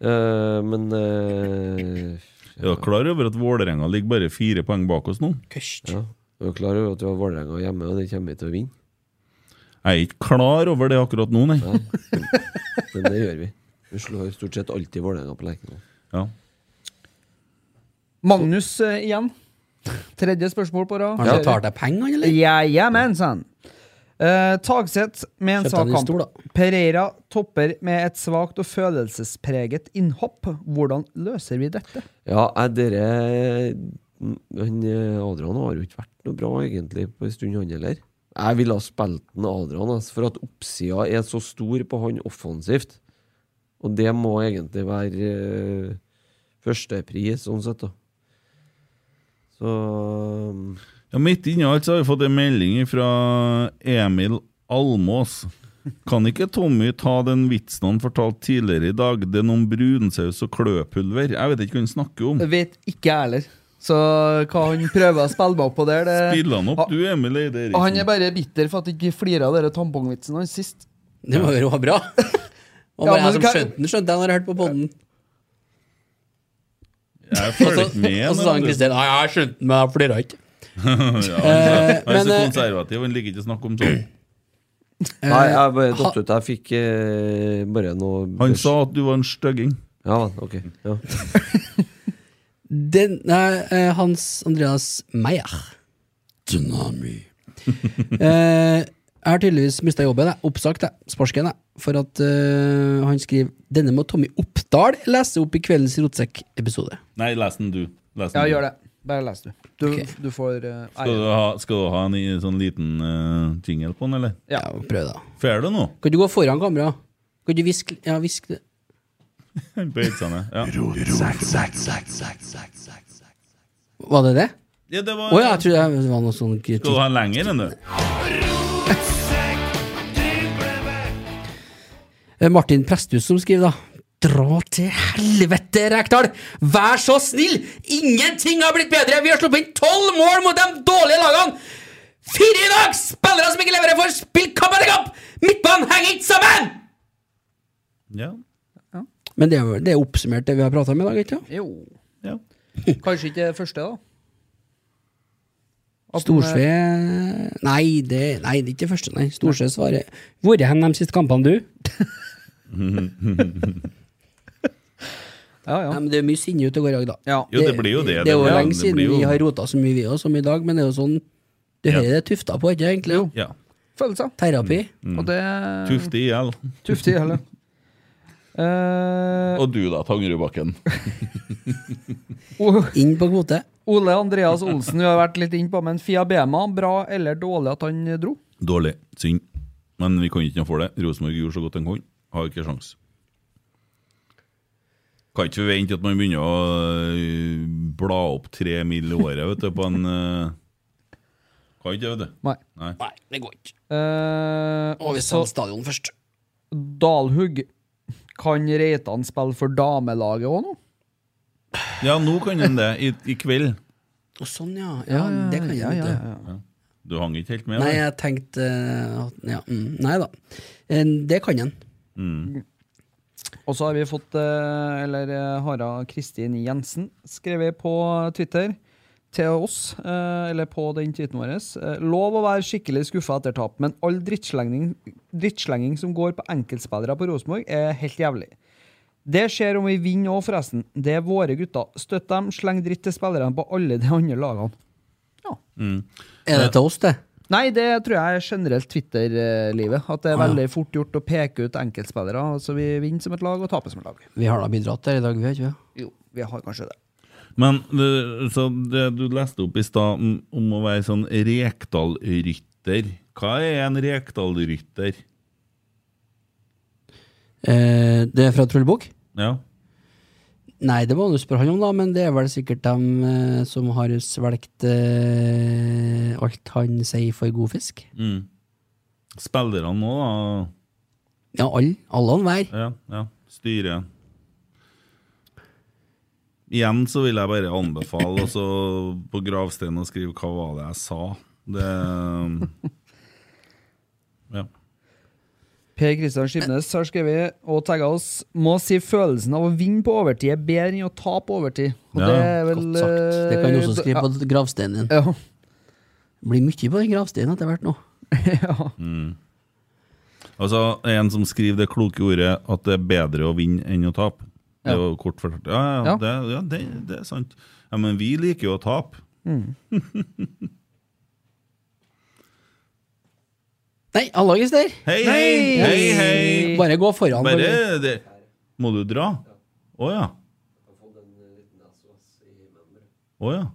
Eh, men eh, Er dere klar over at Vålerenga ligger bare fire poeng bak oss nå? Ja, vi er klar over at vi har Vålerenga hjemme, og det kommer vi til å vinne. Jeg er ikke klar over det akkurat nå, nei. Men det gjør vi. Vi slår stort sett alltid Vålerenga på Lerkendal. Ja. Magnus eh, igjen. Tredje spørsmål på rad. Har han betalt deg penger, han, eller? Ja, ja, men, sann. Eh, Tagseth med en Kjøpte han svak en stol, kamp. Pereira topper med et svakt og følelsespreget innhopp. Hvordan løser vi dette? Ja, jeg, dere han, eh, Adrian har jo ikke vært noe bra, egentlig, på en stund, han heller. Jeg ville ha spilt den Adrian, altså, for at oppsida er så stor på han offensivt. Og det må egentlig være eh, førstepris, sånn sett, da. Så mm. Ja, midt inni alt så har vi fått en melding fra Emil Almås. Kan ikke Tommy ta den vitsen han fortalte tidligere i dag? Det er noen brunsaus og kløpulver. Jeg vet ikke hva han snakker om. Jeg vet ikke jeg heller. Så hva han prøver å spille meg opp på der det, Spiller han opp, du, Emil Eide Og han er Eriksen? bare bitter for at jeg ikke flira av den tampongvitsen hans sist. Det må jo være bra. Og Ja, bare men jeg som hva- skjønte den, skjønte jeg når jeg hørte på podden. Jeg følger Og så- ikke med. Og så Altså, sa han Kristin ja, jeg skjønte den, men jeg flira ikke. Eh, ja, han, er- han er så konservativ, han liker ikke å snakke om sånn. Nei, jeg bare datt ut. Jeg fikk eh, bare noe Han sa at du var en støgging. Ja, ok. Ja. Den, nei, eh, Hans Andreas Meyer. Tsunami. eh, jeg har tydeligvis mista jobben. Jeg. Oppsagt, jeg. Sparsken, jeg. For at eh, han skriver Denne må Tommy Oppdal lese opp i kveldens Rotsekk-episode. Nei, les den du. Les den Ja, du. gjør det. Bare les, du. Du, du får eh, Skal du ha, skal du ha en i- sånn liten eh, jingle på den, eller? Ja, prøv da. Får du noe? Kan du gå foran kamera? Kan du hviske Ja, hvisk det. Bøyd seg ned. Ja. Var det det? Ja, det var- Å ja, jeg trodde jeg- det var noe sånn kritikk. Skal du ha en lenger enn det? Eh, Martin Presthus som skriver, da. Dra til helvete, Rekdal! Vær så snill! Ingenting har blitt bedre! Vi har sluppet inn tolv mål mot de dårlige lagene! Fire i dag! Spillere som ikke leverer, får spille kamp etter kamp! Midtbanen henger ikke sammen! Ja. Men det er, jo- det er oppsummert, det vi har prata om i dag, ikke sant? Jo. Ja. Kanskje ikke det første, da. At de- Storsve nei det, nei, det er ikke det første, nei. Storsve svarer Hvor er hen de siste kampene, du? Nei, men det er mye sinne ute og går i dag, da. Jo, det blir jo det, Det er jo det blir- lenge det siden blir jo- vi har rota så mye, vi òg, som i dag, men det er jo sånn Det her er det tufta på, ikke egentlig? Jo. Ja. Følelser. Terapi. Mm, Og det Tufte i hjel. Tufte i hjel, ja. Eh, Og du da, Tangerudbakken. Inn på kvote. Ole Andreas Olsen vi har vært litt inn på, men Fia Bema, bra eller dårlig at han dro? Dårlig. Synd. Men vi kan ikke noe for det. Rosenborg gjorde så godt de kunne. Har ikke sjans. Kan ikke forvente at man begynner å øh, bla opp tre mil i året vet du, på en øh, Kan ikke det, vet du. Nei. Nei. det går ikke. Eh, Og vi så selger stadion først. Dalhugg, kan Reitan spille for damelaget òg nå? Ja, nå kan en det. I, I kveld. Og sånn, ja. Ja, det kan jeg ja, vet ja, du. ja. Du hang ikke helt med? Nei, der. jeg tenkte eh, at ja, mm, Nei da. Eh, Det kan han. Mm. Og så har vi fått, eh, eller eh, Hara Kristin Jensen, skrevet på Twitter til oss, eh, eller på den tweeten vår. eh, Lov å være skikkelig skuffa etter tap, men all drittslenging, drittslenging som går på enkeltspillere på Rosenborg, er helt jævlig. Det skjer om vi vinner òg, forresten. Det er våre gutter. Støtt dem, sleng dritt til spillerne på alle de andre lagene. Er det til oss, det? Nei, det tror jeg er generelt Twitter-livet. At det er Ah, ja. veldig fort gjort å peke ut enkeltspillere. Så vi vinner som et lag og taper som et lag. Vi har da bidratt der i dag, vi har ikke det? Jo, vi har kanskje det. Men det, så det du leste opp i stad om- om å være sånn Rekdal-rytter Hva er en Rekdal-rytter? Eh, Det er fra Trollbukk? Ja. Nei, det må du spørre han om, da, men det er vel sikkert dem eh, som har svelgt eh, alt han sier for god fisk. Mm. Spillerne nå, da. Ja, alle. Alle og enhver. Ja, ja. Styret. Igjen så vil jeg bare anbefale også på gravsteinen å skrive 'Hva var det jeg sa?' Det Ja. Per Kristian Skibnes har skrevet og tagga oss må si følelsen av å vinne på overtid er bedre enn å tape på overtid. Og Ja, det er vel godt sagt. Det kan du også eh, skrive ja. på gravsteinen din. Ja. Blir mye på den gravsteinen etter hvert nå. Mm. Altså, en som skriver det kloke ordet at det er bedre å vinne enn å tape. Det Ja. var kort fortalt. Ja, ja, Ja. Det, ja det, det er sant. Ja, men vi liker jo å tape. Nei, hallagis der! Hei, hei, hei, hei! Bare gå foran. Bare det. Må du dra? Å ja. Å ja.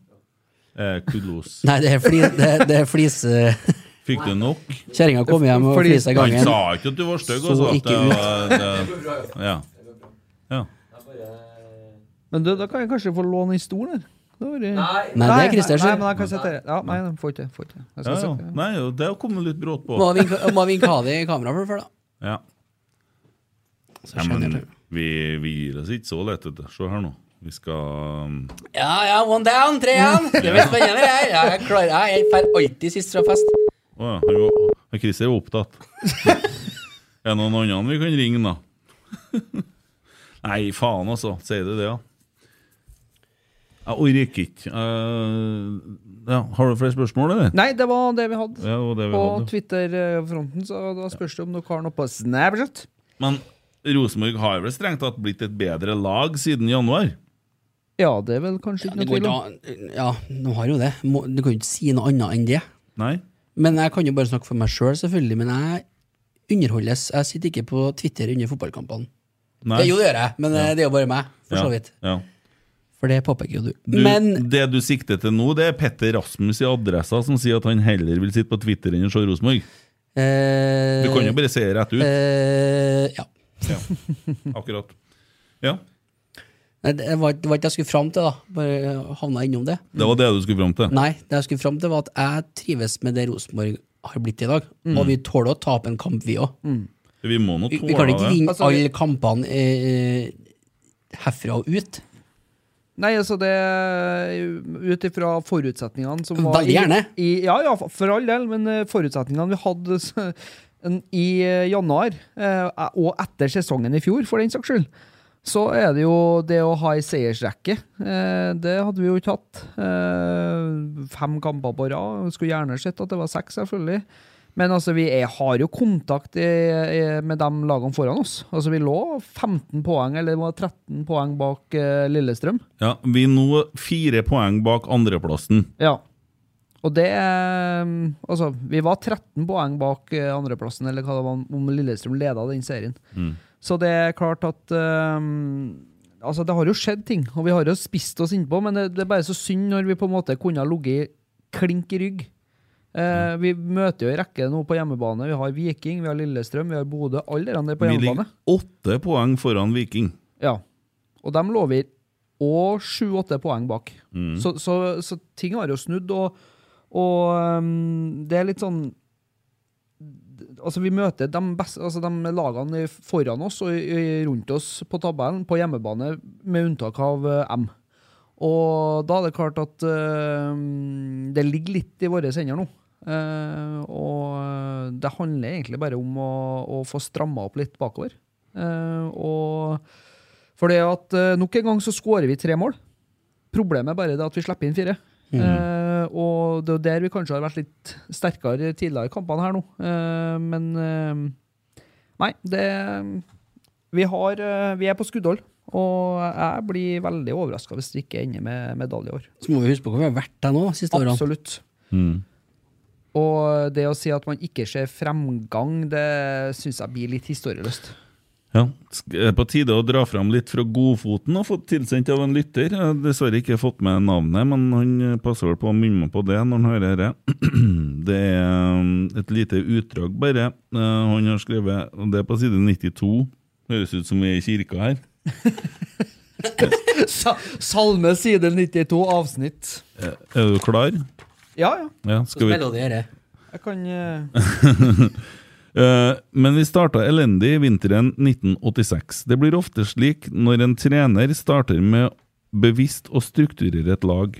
Eh, kudos. Nei, det er, fli, det, det er flis... Fikk du nok? Kjerringa kom hjem og flisa i gangen. Han sa ikke at du var stygg, Så altså. at ikke det ut. var- det- Ja. Men du, da kan jeg kanskje få låne en stol her? Det var- Nei, det er Christer Nei, sin. men jeg kan sette Ja, nei, den får ikke. Får ikke. Jeg skal ja, ja. sette den. Nei, jo, det kom litt brått på. Må vi ikke- må vi ikke ha det i kamera for det, før, da? Ja. ja men vi, vi gir oss ikke så lett, vet du. Se her nå. Vi skal um, Ja, ja, one down, tre igjen! Det blir spennende, det her. Ja, Jeg klarer jeg- Jeg drar alltid sist fra fest. Å ja, han var- han Christer er opptatt. er det noen andre vi kan ringe, da? Nei, faen, altså. Sier du det, ja? Jeg orker ikke. Eh, ja, har du flere spørsmål, eller? Nei, det var det vi hadde. Ja, det var det vi på hadde. Twitter-fronten, så da spørs det om dere har noe på Snapchat. Men Rosenborg har vel strengt tatt blitt et bedre lag siden januar? Ja, det er vel kanskje ikke noe Det går tvil ikke om. an. Ja, de har jo det. Må- Du kan jo ikke si noe annet enn det. Nei. Men jeg kan jo bare snakke for meg sjøl, selv, selvfølgelig. Men jeg underholdes. Jeg sitter ikke på Twitter under fotballkampene. Nei. Det, jo, det gjør jeg, men eh, det er jo bare meg, for Ja, så vidt. Ja. For det påpeker jo du. Du, Men det du sikter til nå, det er Petter Rasmus i Adressa som sier at han heller vil sitte på Twitter enn å se Rosenborg. eh, Du kan jo bare se rett ut. eh, ja. Ja, akkurat. Ja, Nei, Det var det var ikke det jeg skulle fram til, da. Bare havna innom det. det var det du skulle fram til. Nei, det jeg skulle fram til, var at jeg trives med det Rosenborg har blitt i dag. Mm. Og vi tåler å tape en kamp, vi òg. Vi må nå Vi, tåle vi kan ikke vinne Mm. Altså, vi- alle kampene eh, herfra og ut. Nei, altså det Ut ifra forutsetningene som var Veldig gjerne. I, i, ja, ja, for all del, men eh, forutsetningene vi hadde så, en, i eh, januar, eh, og etter sesongen i fjor, for den saks skyld, så er det jo det å ha ei seiersrekke. Eh, det hadde vi jo ikke hatt. Eh, fem kamper på rad. Skulle gjerne sett at det var seks, selvfølgelig. Men altså, vi er, har jo kontakt i, i, med de lagene foran oss. Altså, vi lå 15 poeng, eller det var 13 poeng bak eh, Lillestrøm. Ja, vi er nå fire poeng bak andreplassen. Ja. Og det eh, Altså, vi var 13 poeng bak eh, andreplassen, eller hva det var, om Lillestrøm leda den serien. Mm. Så det er klart at eh, Altså, det har jo skjedd ting, og vi har jo spist oss innpå, men det, det er bare så synd når vi på en måte kunne ha ligget klink i rygg. Mm. Eh, vi møter jo en rekke nå på hjemmebane. Vi har Viking, vi har Lillestrøm, vi har Bodø. Alle de der på Vi hjemmebane. ligger åtte poeng foran Viking. Ja. Og dem lå vi og sju-åtte poeng bak. Mm. Så, så, så ting har jo snudd, og, og ehm, det er litt sånn Altså, vi møter de, beste, altså de lagene foran oss og i- i- rundt oss på tabellen på hjemmebane, med unntak av eh, M. Og da er det klart at ehm, det ligger litt i våre hender nå. Eh, og eh, det handler egentlig bare om å, å få stramma opp litt bakover. Eh, og for det at eh, nok en gang så skårer vi tre mål. Problemet er bare det at vi slipper inn fire. Mhm. Eh, og det er der vi kanskje har vært litt sterkere tidligere i kampene her nå. Eh, men eh, nei, det Vi, har, eh, vi er på skuddhold. Og jeg blir veldig overraska hvis det ikke ender med medalje i år. Så må vi huske på hvor vi har vært der nå de siste årene. Absolutt. Og det å si at man ikke ser fremgang, det syns jeg blir litt historieløst. Ja, sk- er på tide å dra fram litt fra godfoten og fått tilsendt av en lytter. Jeg har dessverre ikke fått med navnet, men han eh, passer vel på å minne meg på det når han hører dette. Det er um, et lite utdrag bare. Eh, Han har skrevet, og det er på side 92. Høres ut som vi er i kirka her. Sa- Salme side 92, avsnitt. Eh, Er du klar? Ja, ja. Ja, skal vi... Jeg kan eh, Eh, Men vi starta elendig i vinteren 1986. Det blir ofte slik når en trener starter med bevisst å strukturere et lag.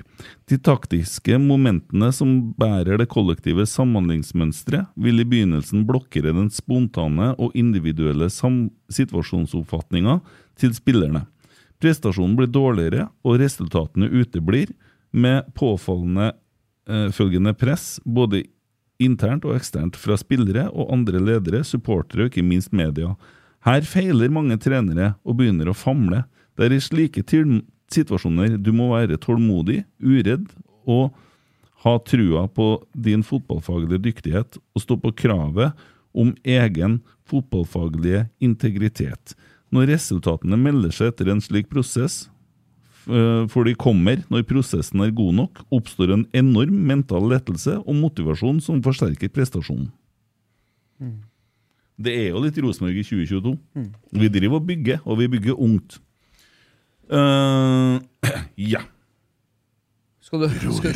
De taktiske momentene som bærer det kollektive samhandlingsmønsteret, vil i begynnelsen blokkere den spontane og individuelle sam situasjonsoppfatninga til spillerne. Prestasjonen blir dårligere, og resultatene uteblir, med påfallende eh, følgende press, både internt og eksternt, fra spillere og andre ledere, supportere og ikke minst media. Her feiler mange trenere og begynner å famle. Det er i slike til- situasjoner du må være tålmodig, uredd og ha trua på din fotballfaglige dyktighet og stå på kravet om egen fotballfaglige integritet. Når resultatene melder seg etter en slik prosess, Eh, for de kommer når prosessen er god nok, oppstår en enorm mental lettelse og motivasjon som forsterker prestasjonen. Mm. Det er jo litt Rosenborg i 2022. Mm. Vi driver og bygger, og vi bygger ungt. Eh, ja. Skal du Nå skal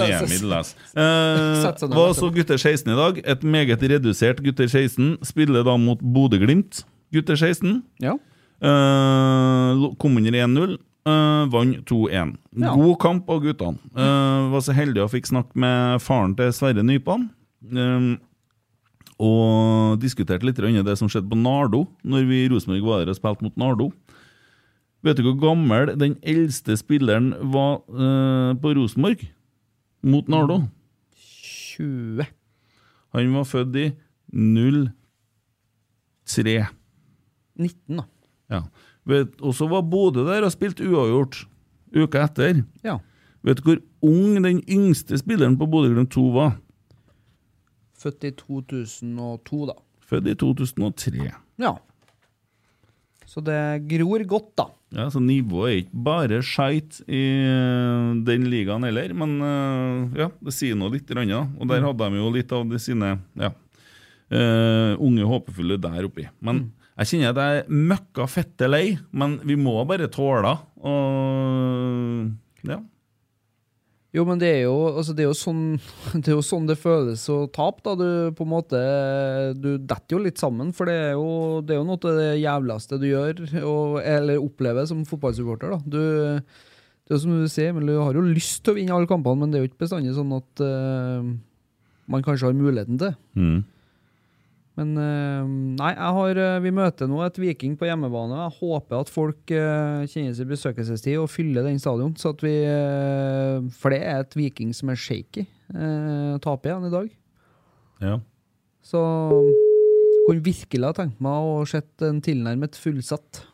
Emil lese. Sett Eh, seg ned, hva vet du. så gutter 16 i dag? Et meget redusert gutter 16 spiller da mot Bodø-Glimt. Gutter 16 ja. Eh, kom under 1-0. eh, vant 2-1. Ja. God kamp av guttene. Eh, var så heldig å fikk snakke med faren til Sverre Nypan. eh, og diskuterte litt grann det som skjedde på Nardo, når vi i Rosenborg var der og spilte mot Nardo. Vet du hvor gammel den eldste spilleren var eh, på Rosenborg mot Nardo? 20. Han var født i 03. 19, da. Ja. Vet, og så var Bodø der og spilte uavgjort uka etter. Ja. Vet du hvor ung den yngste spilleren på Bodø-Glimt 2 var? Født i 2002, da. Født i 2003. Ja. Så det gror godt, da. Ja, Så nivået er ikke bare skeit i eh, den ligaen heller, men eh, ja, det sier nå litt. grann, da. Og der hadde de jo litt av de sine ja, eh, unge håpefulle der oppi. Men jeg kjenner at jeg er møkka fette lei, men vi må bare tåle og ja. Jo, men det er jo, altså det er jo, sånn, det er jo sånn det føles å tape, da. Du på en måte Du detter jo litt sammen, for det er jo, det er jo noe av det jævligste du gjør, og, eller opplever som fotballsupporter, da. Du, det er jo som du sier, men du har jo lyst til å vinne alle kampene, men det er jo ikke bestandig sånn at eh, man kanskje har muligheten til. Mm. Men eh, nei, jeg har, eh, vi møter nå et Viking på hjemmebane. Jeg håper at folk eh, kjenner sin besøkelsestid og fyller den stadion. Så at vi, eh, for det er et Viking som er shaky. Eh, taper igjen i dag. ja. Så jeg kunne virkelig ha tenkt meg å sett en tilnærmet fullsatt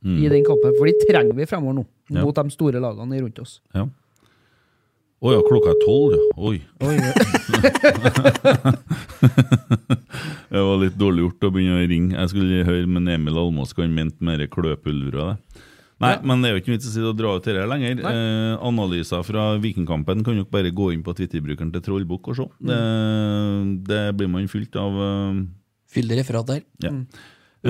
Mm. i den kampen. For de trenger vi fremover nå, Ja. mot de store lagene rundt oss. Ja. Å ja, klokka er tolv, ja. Oi. Oi, ja. det var litt dårlig gjort å begynne å ringe. Jeg skulle høre med Emil Almås hva han mente med det kløpulveret. av det. Nei, men det er jo ikke noe vits i å dra ut dette lenger. Nei. Eh, analyser fra Vikingkampen kan dere bare gå inn på Twitter-brukeren til Trollbukk og se. Det, det blir man fylt av eh, Fyll det referat der. ja. Mm.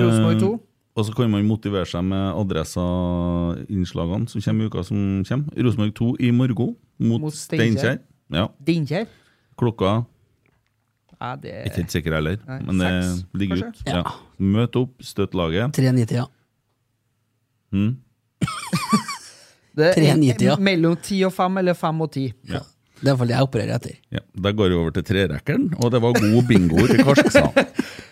Rosenborg Eh, to. Og så kan man motivere seg med adressainnslagene som kommer i uka som kommer. Rosenborg 2 i morgen mot, Mot Steinkjer. Steinkjer. Ja. Dinkjær? Klokka Nei, det Jeg er ikke helt sikker heller, Nei, men det seks, ligger kanskje? ut. Ja. Møt opp, støtt laget. 3-9-tida. Mm. Det er 3,90, ja. Mellom 10 og 5, eller 5 og 10. Ja. Det er i hvert fall det jeg opererer etter. Ja. Da går vi over til trerekkeren, og det var god bingo til Karsksa.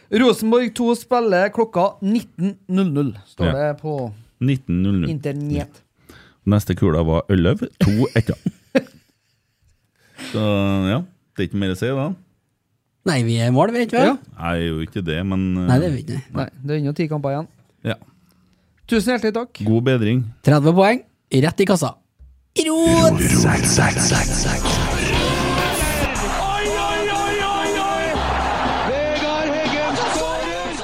Rosenborg 2 spiller klokka 19.00, står Ja. det på 19.00. internett. Neste kula var Elløv, to etter. Så ja, det er ikke mer å si da. Nei, vi er i mål, vi, ikke vel? Nei, det er jo ikke det, men eh, Nei, det er vi ikke. Nei, det er ennå ti kamper igjen. Ja. Tusen hjertelig takk. God bedring. 30 poeng, rett i kassa. Rot! Vegard Heggen skårer!